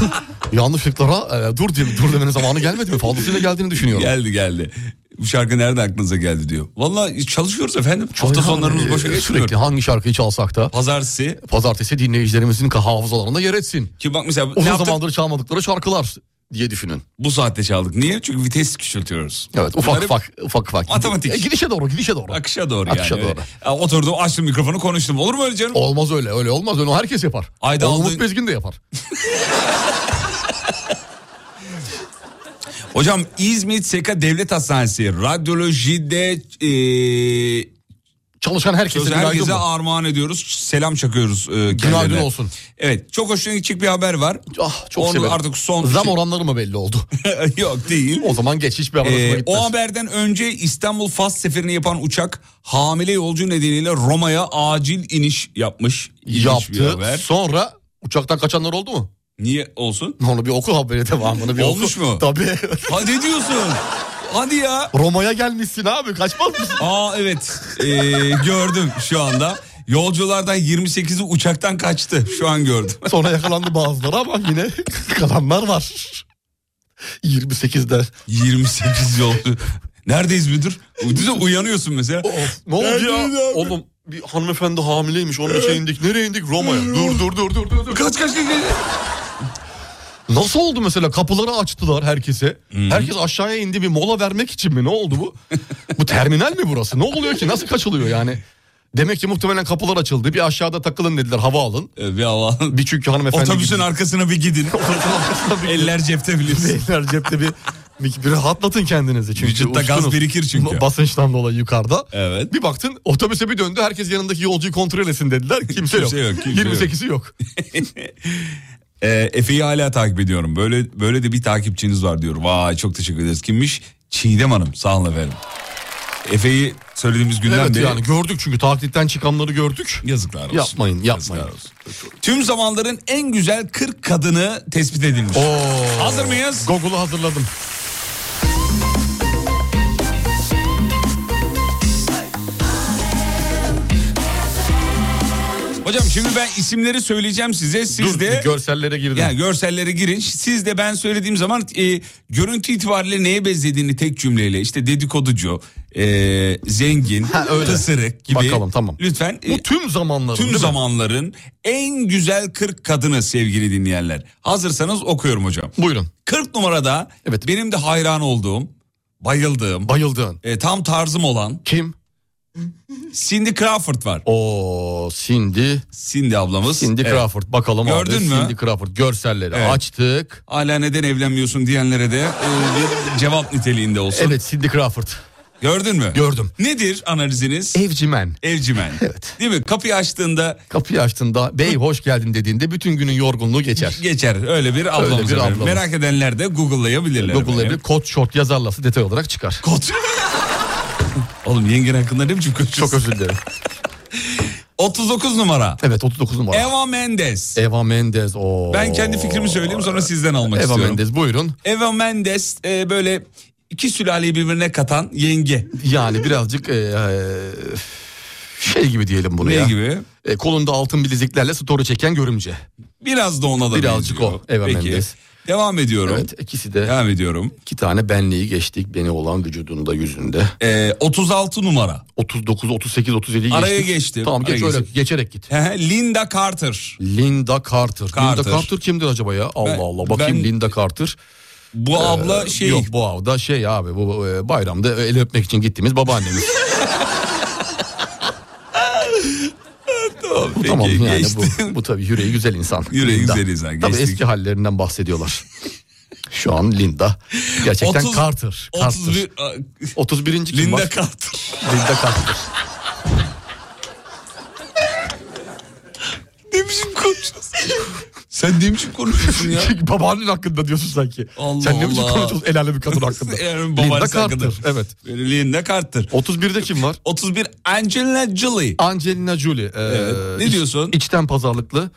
*laughs* Yanlışlıklara e, dur diye dur demenin zamanı gelmedi mi? Fazlasıyla geldiğini düşünüyorum.
geldi geldi. Bu şarkı nerede aklınıza geldi diyor. Vallahi çalışıyoruz efendim. Hafta
Ay, e,
sonlarımız boşa geçmiyor.
Sürekli hangi şarkıyı çalsak da
Pazartesi
pazartesi dinleyicilerimizin hafızalarında yer etsin.
ki bak mesela ne
Uzun
yaptık?
zamandır çalmadıkları şarkılar diye düşünün.
Bu saatte çaldık. Niye? Çünkü vites küçültüyoruz.
Evet ufak
Bunları
ufak ufak ufak.
Matematik.
E, gidişe doğru gidişe doğru.
Akışa doğru
Akışa
yani.
doğru.
Ya oturdum açtım mikrofonu konuştum. Olur mu öyle canım?
Olmaz öyle öyle olmaz öyle herkes yapar.
Ayda
Onu Umut
aldığın-
Bezgin de yapar.
Hocam İzmit Seka Devlet Hastanesi radyolojide e,
Çalışan herkese
Sözü
günaydın
herkese
mı?
armağan ediyoruz. Selam çakıyoruz e, kendilerine.
Günaydın olsun.
Evet çok hoşuna gidecek bir haber var. *laughs*
Ah çok
Onu
severim.
artık son-
Zam oranları mı belli oldu? *laughs*
Yok değil.
o zaman geç hiçbir haber hoşuma
E,
gitmez.
o haberden önce İstanbul Fas seferini yapan uçak hamile yolcu nedeniyle Roma'ya acil iniş yapmış. İlginç bir
Yaptı.
haber.
Sonra uçaktan kaçanlar oldu mu?
Niye olsun?
Onu bir oku haberi devamını bir
Olmuş
oku.
mu?
Tabii. *laughs*
Hadi diyorsun. Hadi ya.
Roma'ya gelmişsin abi kaçmaz mısın? *laughs*
Aa evet Ee, gördüm şu anda. Yolculardan 28'i uçaktan kaçtı. Şu an gördüm. *laughs*
Sonra yakalandı bazıları ama yine *laughs* kalanlar var. 28'de.
28 yolcu. Neredeyiz müdür? Düşünsene uyanıyorsun mesela.
Of, ne oldu ya?
Neredeyiz abi?
Oğlum bir hanımefendi hamileymiş onun için indik. Nereye indik? Roma'ya. Dur dur dur dur. dur, dur.
Kaç kaç kaç.
Nasıl oldu mesela kapıları açtılar herkese. Herkes aşağıya indi bir mola vermek için mi? Ne oldu bu? bu terminal mi burası? Ne oluyor ki? Nasıl kaçılıyor yani? Demek ki muhtemelen kapılar açıldı. Bir aşağıda takılın dediler hava alın.
Ee, Bir Allah.
Bir çünkü hanımefendi...
Otobüsün arkasına bir
*laughs*
gidin. Eller cepte biliyorsun.
Beyler cepte bir, bir, bir rahatlatın kendinizi. Çünkü
Vücutta gaz
uçtunuz.
birikir çünkü.
Basınçtan dolayı yukarıda.
Evet.
Bir baktın otobüse bir döndü herkes yanındaki yolcuyu kontrol etsin
*laughs*
dediler. Kimse,
Kimse
yok.
yok, kimse yok.
28'i yok.
Ee, Efe'yi hala takip ediyorum. Böyle böyle de bir takipçiniz var diyor. Vay çok teşekkür ederiz. Kimmiş? Çiğdem Hanım. Sağ olun efendim. Efe'yi söylediğimiz günden
evet
beri
yani gördük çünkü taklitten çıkanları gördük.
yazıklar olsun.
Yapmayın, yapmayın.
Yazıklar olsun. Tüm zamanların en güzel 40 kadını tespit edilmiş.
Oo.
Hazır mıyız?
Google'u hazırladım.
Hocam şimdi ben isimleri söyleyeceğim size. Siz
Dur
de
bir görsellere girdim.
yani görsellere girin. Siz de ben söylediğim zaman e, görüntü itibariyle neye benzediğini tek cümleyle işte dedikoducu, e, zengin,
öyle.
ısırık gibi.
Bakalım, tamam.
Lütfen e,
Bu tüm zamanların değil
tüm
mi?
zamanların en güzel 40 kadını sevgili dinleyenler. Hazırsanız okuyorum hocam.
Buyurun.
40 numarada
Evet.
benim de hayran olduğum, bayıldığım,
Bayıldığın.
e, tam tarzım olan
Kim?
Cindy Crawford var.
O Cindy.
Cindy ablamız.
Cindy
Evet.
Crawford. Bakalım abi.
Gördün mü?
Cindy Crawford. Görselleri
Evet.
açtık.
Hala neden evlenmiyorsun diyenlere de e, bir cevap niteliğinde olsun.
Evet Cindy Crawford.
Gördün mü?
Gördüm.
Nedir analiziniz?
Evcimen.
Evcimen.
Evet.
Değil mi? Kapıyı açtığında
Kapıyı açtığında bey hoş geldin dediğinde bütün günün yorgunluğu geçer.
geçer. Öyle bir ablamız.
bir
efendim.
ablamız.
Merak edenler de Google'layabilirler.
Google'da
efendim.
bir kot şort yazarlarsa detay olarak çıkar.
Kot. *laughs* Oğlum yengen hakkında ne biçim konuşuyorsun?
Çok özür dilerim.
39 numara.
Evet 39 numara. Eva,
Eva Mendes.
E, Mendes. Oo.
Ben kendi fikrimi söyleyeyim sonra sizden almak
Eva
istiyorum.
Mendes buyurun.
Eva Mendes e, böyle iki sülaleyi birbirine katan yenge.
Yani birazcık e, e, şey gibi diyelim bunu
Ne
ya.
gibi?
E, kolunda altın bileziklerle story çeken görümce.
Biraz da ona da
Birazcık
benziyor.
o, Eva Mendes.
Devam ediyorum.
Evet ikisi de
Devam ediyorum.
iki tane benliği geçtik. Beni olan vücudunda yüzünde.
Ee, 36 numara.
39, 38, 37 geçtik.
Araya geçtim.
Tamam geç
Araya
öyle
geçtim.
geçerek git.
He, Linda Carter.
Linda Carter.
Carter.
Linda Carter kimdir acaba ya? Allah
Ben-
Allah bakayım
ben-
Linda Carter.
Bu abla
Ee,
şey
Yok bu avda şey abi bu e, bayramda el öpmek için gittiğimiz babaannemiz.
*laughs* Tamam, peki,
tamam yani
geçtim.
bu, bu tabii yüreği güzel insan.
Yüreği güzel insan,
Tabii
geçtik.
eski hallerinden bahsediyorlar. Şu an Linda. Gerçekten
30
Carter. Carter.
31 a,
31. kim
Linda
var?
Carter. *laughs*
Linda Carter.
Ne biçim konuşuyorsun? Sen ne biçim konuşuyorsun ya?
*laughs* Çünkü babaannen hakkında diyorsun sanki.
Allah
Sen ne biçim
Allah.
konuşuyorsun el alemi
*laughs*
kadın hakkında.
Yani
Linda
babaannesi
Carter.
hakkında.
Evet.
Linda Carter.
31'de kim var?
31 Angelina Jolie.
Angelina Jolie. Ee,
Evet. Ne diyorsun?
içten pazarlıklı.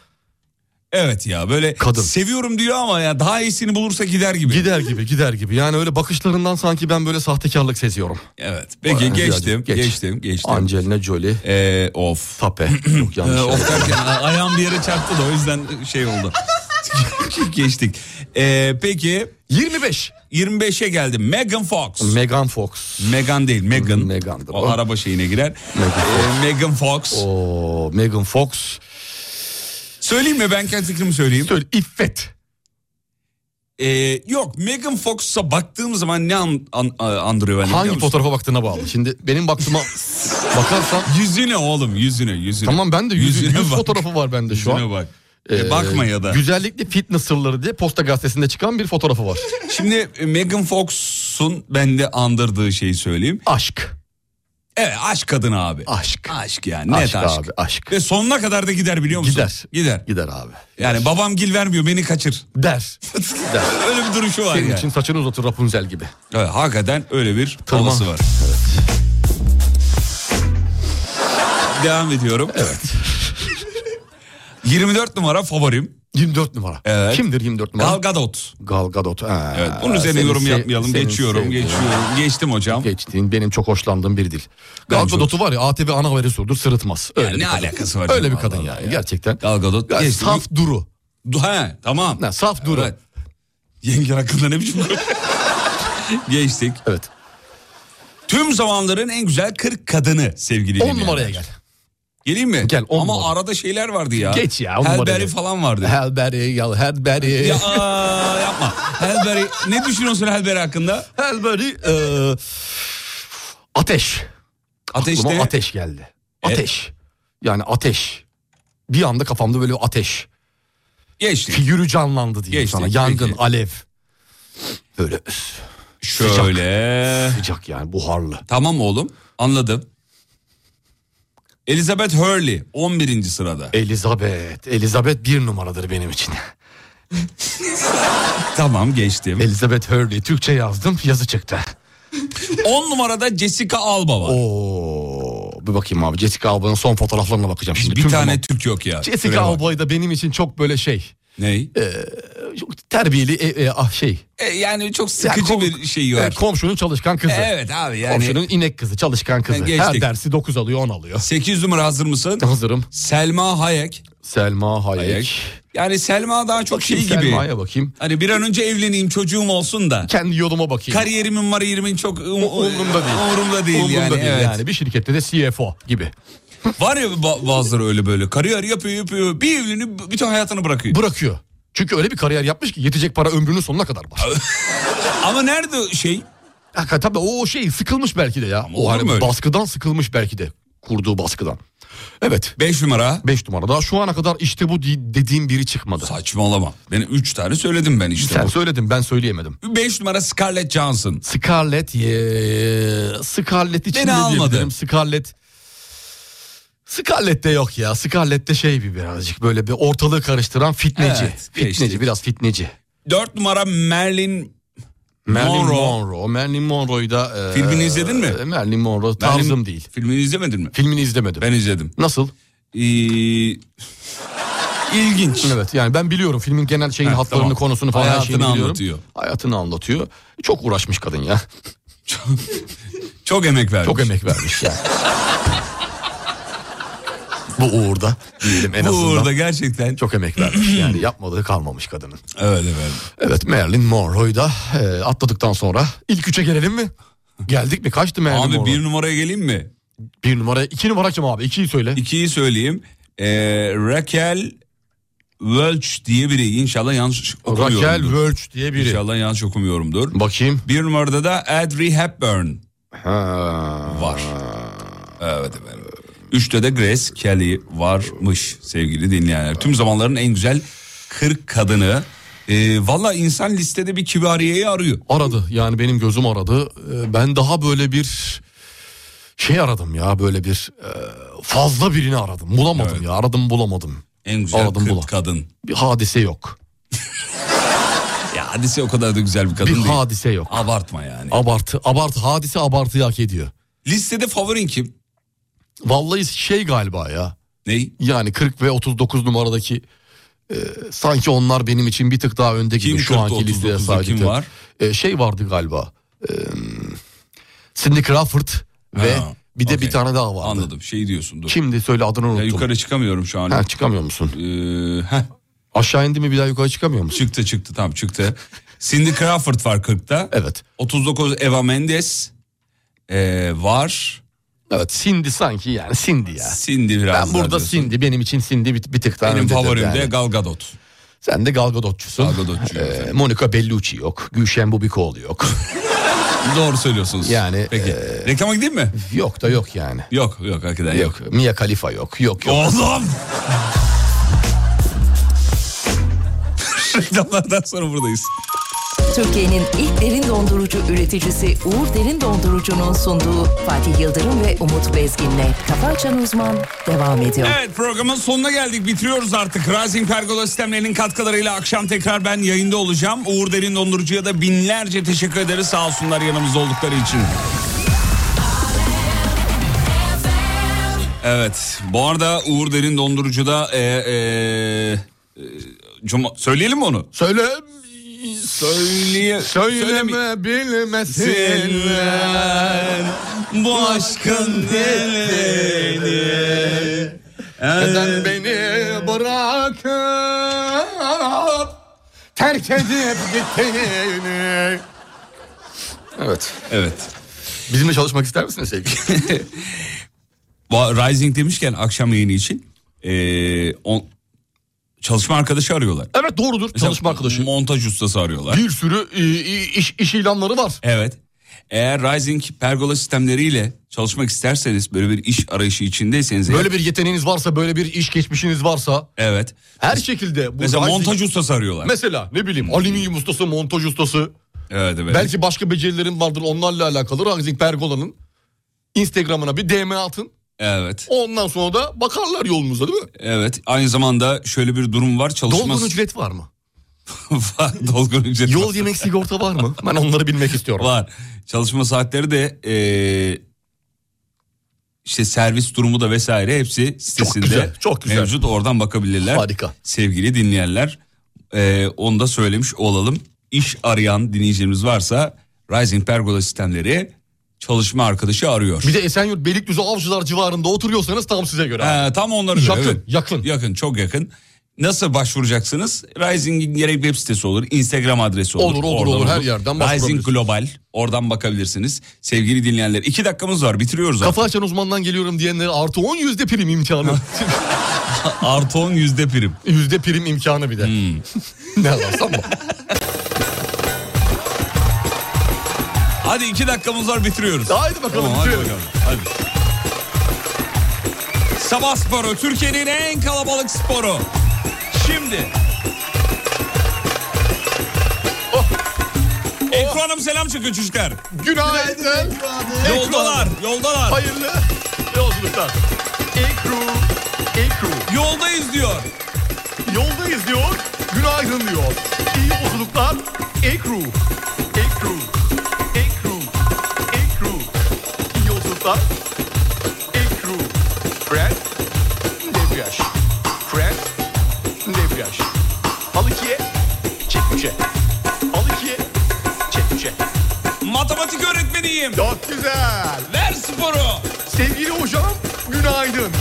Evet ya böyle
Kadın.
seviyorum diyor ama ya daha iyisini bulursa gider gibi.
Gider gibi gider gibi. Yani öyle bakışlarından sanki ben böyle sahtekarlık seziyorum.
Evet. Peki
Ee,
geçtim,
geç.
geçtim, geçtim.
Angelina Jolie.
Ee, of.
Tape. Yok
*clears throat* Ee,
yanlış.
of derken a- ayağım bir yere çarptı da o yüzden şey oldu. *laughs* Geçtik. Ee, peki
25.
25'e geldim. Megan Fox.
Megan Fox.
Megan değil Megan.
Megan'dır
O
o.
araba şeyine girer.
Megan Fox.
Ee, Megan Fox.
Oo, Megan Fox.
Söyleyeyim mi ben kendi fikrimi söyleyeyim.
Söyle İffet.
Ee, yok Megan Fox'a baktığım zaman ne an, an- a- andırıyor beni biliyor
Hangi
musun?
fotoğrafa baktığına bağlı. Şimdi benim baktığıma bakarsan
Yüzüne oğlum yüzüne yüzüne.
tamam ben de yüz,
Yüzüne
yüz
bak.
fotoğrafı var bende şu
Yüzüne
an.
bak. Ee, bakma ya da.
Güzellikli fitness sırları diye Posta Gazetesi'nde çıkan bir fotoğrafı var.
Şimdi e, Megan Fox'un bende andırdığı şeyi söyleyeyim.
Aşk.
Evet aşk kadını abi.
Aşk.
Aşk yani net aşk.
abi aşk.
Ve sonuna kadar da gider biliyor musun?
Gider.
Gider.
Gider abi.
Yani babam gil vermiyor beni kaçır. *laughs*
Der. Der.
Öyle bir duruşu var
Senin
yani.
için saçını uzatır Rapunzel gibi.
Evet, hakikaten öyle bir
Tamam.
havası var. Devam ediyorum. *laughs* Evet. 24 numara favorim.
24 numara.
Evet.
Kimdir 24 numara?
Gal Gadot.
Gal Gadot. Ha,
Evet, bunun üzerine
seni
yorum
se-
yapmayalım.
seni
Geçiyorum,
sevdiğim.
geçiyorum. Geçtim hocam.
Geçtiğin benim çok hoşlandığım bir dil.
Ben
Gal
çok-
Gadot'u var ya ATV ana haberi sordur sırıtmaz. Öyle
Yani
bir
ne
kadın.
alakası var?
Öyle
canım,
bir kadın
Allah
yani
Allah ya.
gerçekten.
Gal Gadot.
Ya,
geçtim.
saf duru.
He, tamam.
Ne, saf duru.
Evet. Yengen hakkında ne biçim *laughs* konuş- Geçtik.
Evet.
Tüm zamanların en güzel 40 kadını sevgili
10
dinleyenler.
numaraya gel.
Geleyim mi?
Gel, on
Ama
numara.
arada şeyler vardı ya.
Geç ya, on numaraya
Helberry
gel.
falan vardı.
Helberry, yal Helberry.
Ya aa, yapma. Helberry. Ne düşünüyorsun Helberry hakkında?
Helberry. e, ateş.
Ateşte.
Aklıma ateş geldi.
E?
Ateş. Yani ateş. Bir anda kafamda böyle ateş.
Geçtik.
Figürü canlandı diyeyim
Geçti,
sana. Yangın,
peki.
alev. Böyle üf,
Şöyle.
sıcak yani buharlı.
Tamam oğlum. Anladım. Elizabeth Hurley 11. sırada.
Elizabeth. Elizabeth bir numaradır benim için.
tamam geçtim.
Elizabeth Hurley. Türkçe yazdım yazı çıktı.
10 numarada Jessica Alba var.
Oo, bir bakayım abi. Jessica Alba'nın son fotoğraflarına bakacağım şimdi.
bir
Tüm
tane
zaman-
Türk yok ya.
Jessica Alba'yı da benim için çok böyle şey.
Ney?
çok Terbiyeli e, e, ah şey.
E, yani çok
Yani
sıkıcı
kom-
bir şey var.
e, komşunun çalışkan kızı.
evet abi yani.
Komşunun inek kızı, çalışkan kızı.
Geçtik.
Her dersi 9 alıyor, 10
*laughs*
alıyor.
8 numara hazır mısın?
Hazırım.
Selma Hayek.
Selma Hayek.
Hayek. Yani Selma daha çok
Bakayım
şey gibi.
Selma'ya bakayım.
Hani bir an önce evleneyim çocuğum olsun da.
Kendi yoluma bakayım.
Kariyerimin mariyerimin çok um,
O- umurumda değil.
Umurumda değil
Umurumda
yani.
değil
evet.
yani. Bir şirkette de CFO gibi.
Var ya ba- bazıları öyle böyle kariyer yapıyor yapıyor. Bir evleniyor b- bütün hayatını bırakıyor.
Bırakıyor. Çünkü öyle bir kariyer yapmış ki yetecek para ömrünün sonuna kadar var.
Ama nerede şey?
Hakikaten tabii o şey sıkılmış belki de ya.
olur
o hani
mu öyle?
baskıdan sıkılmış belki de. Kurduğu baskıdan. Evet.
5 numara.
5 numara. Daha şu ana kadar işte bu di- dediğim biri çıkmadı.
Saçmalama. Ben 3 tane söyledim ben işte.
Sen söyledin ben söyleyemedim.
5 numara Scarlett Johansson.
Scarlett ye, Scarlett için
Beni
ne
almadı.
diyebilirim? Scarlett Scarlett'te yok ya. Scarlett'te şey bir birazcık böyle bir ortalığı karıştıran fitneci.
Evet, geçtik.
fitneci biraz fitneci.
4 numara Merlin
Marilyn
Monroe.
Monroe. Marilyn Monroe'yu da... e,
Filmini izledin mi?
Marilyn Monroe tarzım
Merlin-
değil.
Filmini izlemedin mi?
Filmini izlemedim.
Ben izledim.
Nasıl?
Ee, ilginç.
Evet yani ben biliyorum filmin genel şeyin
Ha,
hatlarını
tamam.
konusunu falan her
Hayatını
şeyini biliyorum.
anlatıyor.
Hayatını anlatıyor. Çok uğraşmış kadın ya.
Çok emek vermiş.
Çok emek vermiş yani. *laughs* Bu uğurda diyelim en
Bu
azından.
uğurda gerçekten.
Çok emek vermiş yani yapmadığı kalmamış kadının.
Evet evet.
Evet Marilyn Monroe'yu da e, atladıktan sonra ilk üçe gelelim mi? Geldik mi? Kaçtı Marilyn
Abi
Monroe?
bir numaraya geleyim mi?
Bir numara, iki numara kim abi? İkiyi söyle.
İkiyi söyleyeyim. Ee, Raquel Welch diye biri. İnşallah yanlış okumuyorumdur.
Raquel Welch diye biri.
İnşallah yanlış okumuyorumdur.
Bakayım.
Bir numarada da Audrey Hepburn
Ha.
var. Evet efendim. Üçte de Grace Kelly varmış sevgili dinleyenler. Tüm zamanların en güzel 40 kadını. Ee, Valla insan listede bir kibariyeyi arıyor.
Aradı yani benim gözüm aradı. E, Ben daha böyle bir şey aradım ya böyle bir e, fazla birini aradım. Bulamadım ya aradım bulamadım.
En güzel
Aradım
40
bulan.
kadın.
Bir hadise yok.
Ya hadise o kadar da güzel bir kadın
bir
değil.
hadise yok.
Abartma yani.
Abartı, abartı, hadise abartıyı hak ediyor.
Listede favorin kim?
Vallahi şey galiba ya.
Ney?
Yani 40 ve 39 numaradaki e, sanki onlar benim için bir tık daha önde gibi
Kim
şu
40'ta,
anki listeye
39'da
sadece.
kim var?
E, şey vardı galiba. E, Cindy Crawford ve
Ha,
bir de
okey.
bir tane daha vardı.
Anladım şey diyorsun dur.
Kimdi söyle adını unuttum.
Ya yukarı çıkamıyorum şu an.
Ha, çıkamıyor musun?
Ee, heh,
Aşağı indi mi bir daha yukarı çıkamıyor musun?
çıktı çıktı tam çıktı. Cindy Crawford var 40'ta.
Evet.
39 Eva Mendes ee, var.
Evet Cindy sanki yani Cindy ya.
Cindy
Ben
biraz daha
burada
diyorsun.
Cindy benim için Cindy bir, bir tık daha
Benim
öndedir
favorim de
yani.
Gal Gadot.
Sen de Gal Gadot'çusun.
Gal
*laughs*
Gadot'çuyum
Ee,
efendim.
Monica Bellucci yok. Gülşen Bubikoğlu yok. *laughs*
Doğru söylüyorsunuz.
Yani,
Peki.
ee,
Reklama
*laughs*
gideyim mi?
yok da yok yani.
Yok yok hakikaten yok.
Yok. Mia Khalifa yok. Yok yok.
Oğlum. *laughs* Reklamlardan sonra buradayız.
Türkiye'nin ilk derin dondurucu üreticisi Uğur Derin Dondurucu'nun sunduğu Fatih Yıldırım ve Umut Bezgin'le Kafa Açan Uzman devam ediyor.
Evet programın sonuna geldik. Bitiriyoruz artık. Rising Pergola sistemlerinin katkılarıyla akşam tekrar ben yayında olacağım. Uğur Derin Dondurucu'ya da binlerce teşekkür ederiz. Sağ olsunlar yanımızda oldukları için. Evet. Bu arada Uğur Derin Dondurucu'da e, e, e, cuma- söyleyelim mi onu?
Söyle.
Söyleye,
Söyleme bilmesinler.
Senler bu aşkın delili
Neden beni bırakıp terk edip gittiğini. Evet.
Evet.
Bizimle çalışmak ister misiniz sevgili?
Bu Rising demişken akşam yayını için eee, on- çalışma arkadaşı arıyorlar.
evet doğrudur.
Mesela
Çalışma arkadaşı.
Montaj ustası arıyorlar.
Bir sürü e, i- iş, iş ilanları var.
Evet. Eğer Rising pergola sistemleriyle çalışmak isterseniz böyle bir iş arayışı içindeyseniz eğer-
Böyle bir yeteneğiniz varsa, böyle bir iş geçmişiniz varsa
evet.
her şekilde. bu
Mesela
rising-
montaj ustası arıyorlar.
Mesela ne bileyim alüminyum ustası, montaj ustası.
evet evet.
Belki başka becerilerin vardır onlarla alakalı. Rising Pergola'nın Instagram'ına bir DM atın.
Evet.
Ondan sonra da bakarlar yolumuza değil mi?
Evet. Aynı zamanda şöyle bir durum var. Çalışma
Dolgun ücret var mı?
*laughs* var. Dolgun ücret.
Yol yemek sigorta var mı? Ben onları bilmek istiyorum.
E, Var. Çalışma saatleri de e, işte servis durumu da vesaire hepsi sitesinde
güzel, çok güzel.
mevcut. Oradan bakabilirler.
Harika.
Sevgili dinleyenler e, onu da söylemiş olalım. İş arayan dinleyicilerimiz varsa Rising Pergola sistemleri çalışma arkadaşı arıyor.
Bir de Esenyurt Beylikdüzü Avcılar civarında oturuyorsanız tam size göre.
Ee, tam onları
Yakın, yakın.
Yakın, çok yakın. Nasıl başvuracaksınız? Rising'in gerek web sitesi olur, Instagram adresi olur.
Olur, olur,
Oradan
olur. Her yerden
Rising
başvurabilirsiniz.
Global, oradan bakabilirsiniz. Sevgili dinleyenler, iki dakikamız var, bitiriyoruz
Kafa açan uzmandan geliyorum diyenlere artı 10 yüzde prim imkanı.
artık. Artı 10 yüzde prim.
*laughs* yüzde prim imkanı bir de.
Hmm.
*laughs* ne alarsan bak.
Hadi iki dakikamız var, bitiriyoruz.
Haydi bakalım.
Tamam, hadi
bitirelim.
bakalım. Hadi. Sabah sporu, Türkiye'nin en kalabalık sporu. Şimdi.
Oh.
Ekranım selam çıkıyor çocuklar.
Günaydın.
Yoldalar, yoldalar.
Hayırlı yolculuklar. Ekru, Ekru.
Yoldayız diyor.
Yoldayız diyor, günaydın diyor. İyi yolculuklar. Ekru, Ekru, Ekru, Ekru. İyi yolculuklar. Ekru. Fren, debriyaj. Fren, debriyaj. Al ikiye, çek üçe. Al ikiye, çek üçe.
Matematik öğretmeniyim.
Çok güzel.
Ver sporu.
Sevgili hocam günaydın.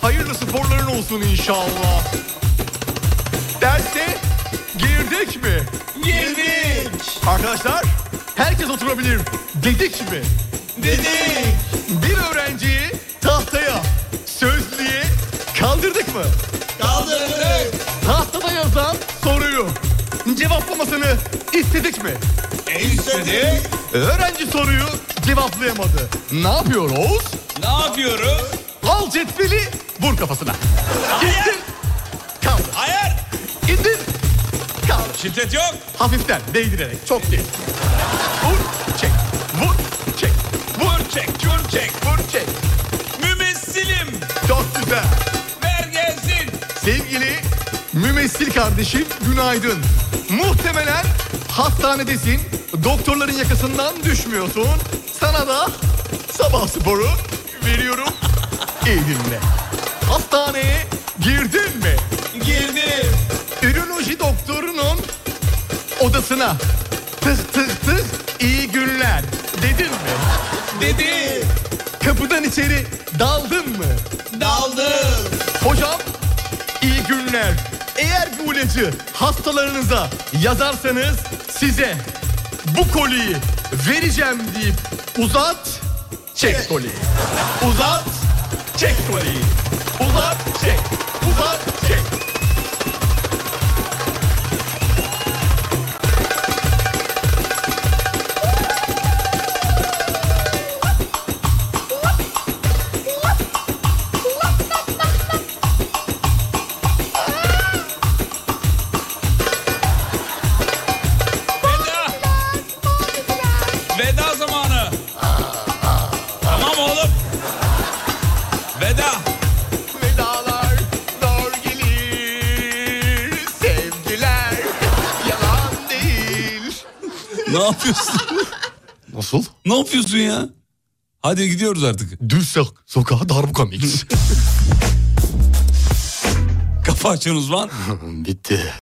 Hayırlı sporların olsun inşallah. Derse girdik mi? Girdik. Arkadaşlar herkes oturabilir. Dedik mi? Dedik. Bir öğrenciyi tahtaya, sözlüğe kaldırdık mı? Kaldırdık. Tahtada yazan soruyu cevaplamasını istedik mi?
E İstedik.
Öğrenci soruyu cevaplayamadı. Ne yapıyor Oğuz?
Ne yapıyoruz?
Al cetveli vur kafasına. İndir. Kaldır.
Hayır.
İndir. Kaldır.
Şiddet yok.
Hafiften değdirerek. Çok değil. Vur çek. Vur çek. Vur çek. Vur çek. Vur çek.
Mümessilim.
Çok güzel.
Ver gelsin.
Sevgili mümessil kardeşim günaydın. Muhtemelen hastanedesin. Doktorların yakasından düşmüyorsun. Sana da sabah sporu veriyorum. İyi dinle. Hastaneye girdin mi?
Girdim.
Üroloji doktorunun odasına tık tık tık iyi günler dedin mi?
Dedi.
Kapıdan içeri daldın mı?
Daldım.
Hocam iyi günler. Eğer bu ilacı hastalarınıza yazarsanız size bu koliyi vereceğim deyip uzat çek koliyi. Uzat çek koliyi. Uzat çek. Uzat çek.
Veda. Veda zamanı. Tamam oğlum. Veda.
Vedalar zor gelir. Sevgiler yalan değil.
Ne yapıyorsun?
Nasıl?
ne yapıyorsun ya? Hadi gidiyoruz artık.
Düz sok sokağa darbuka mix.
Kafa açın uzman.
Bitti.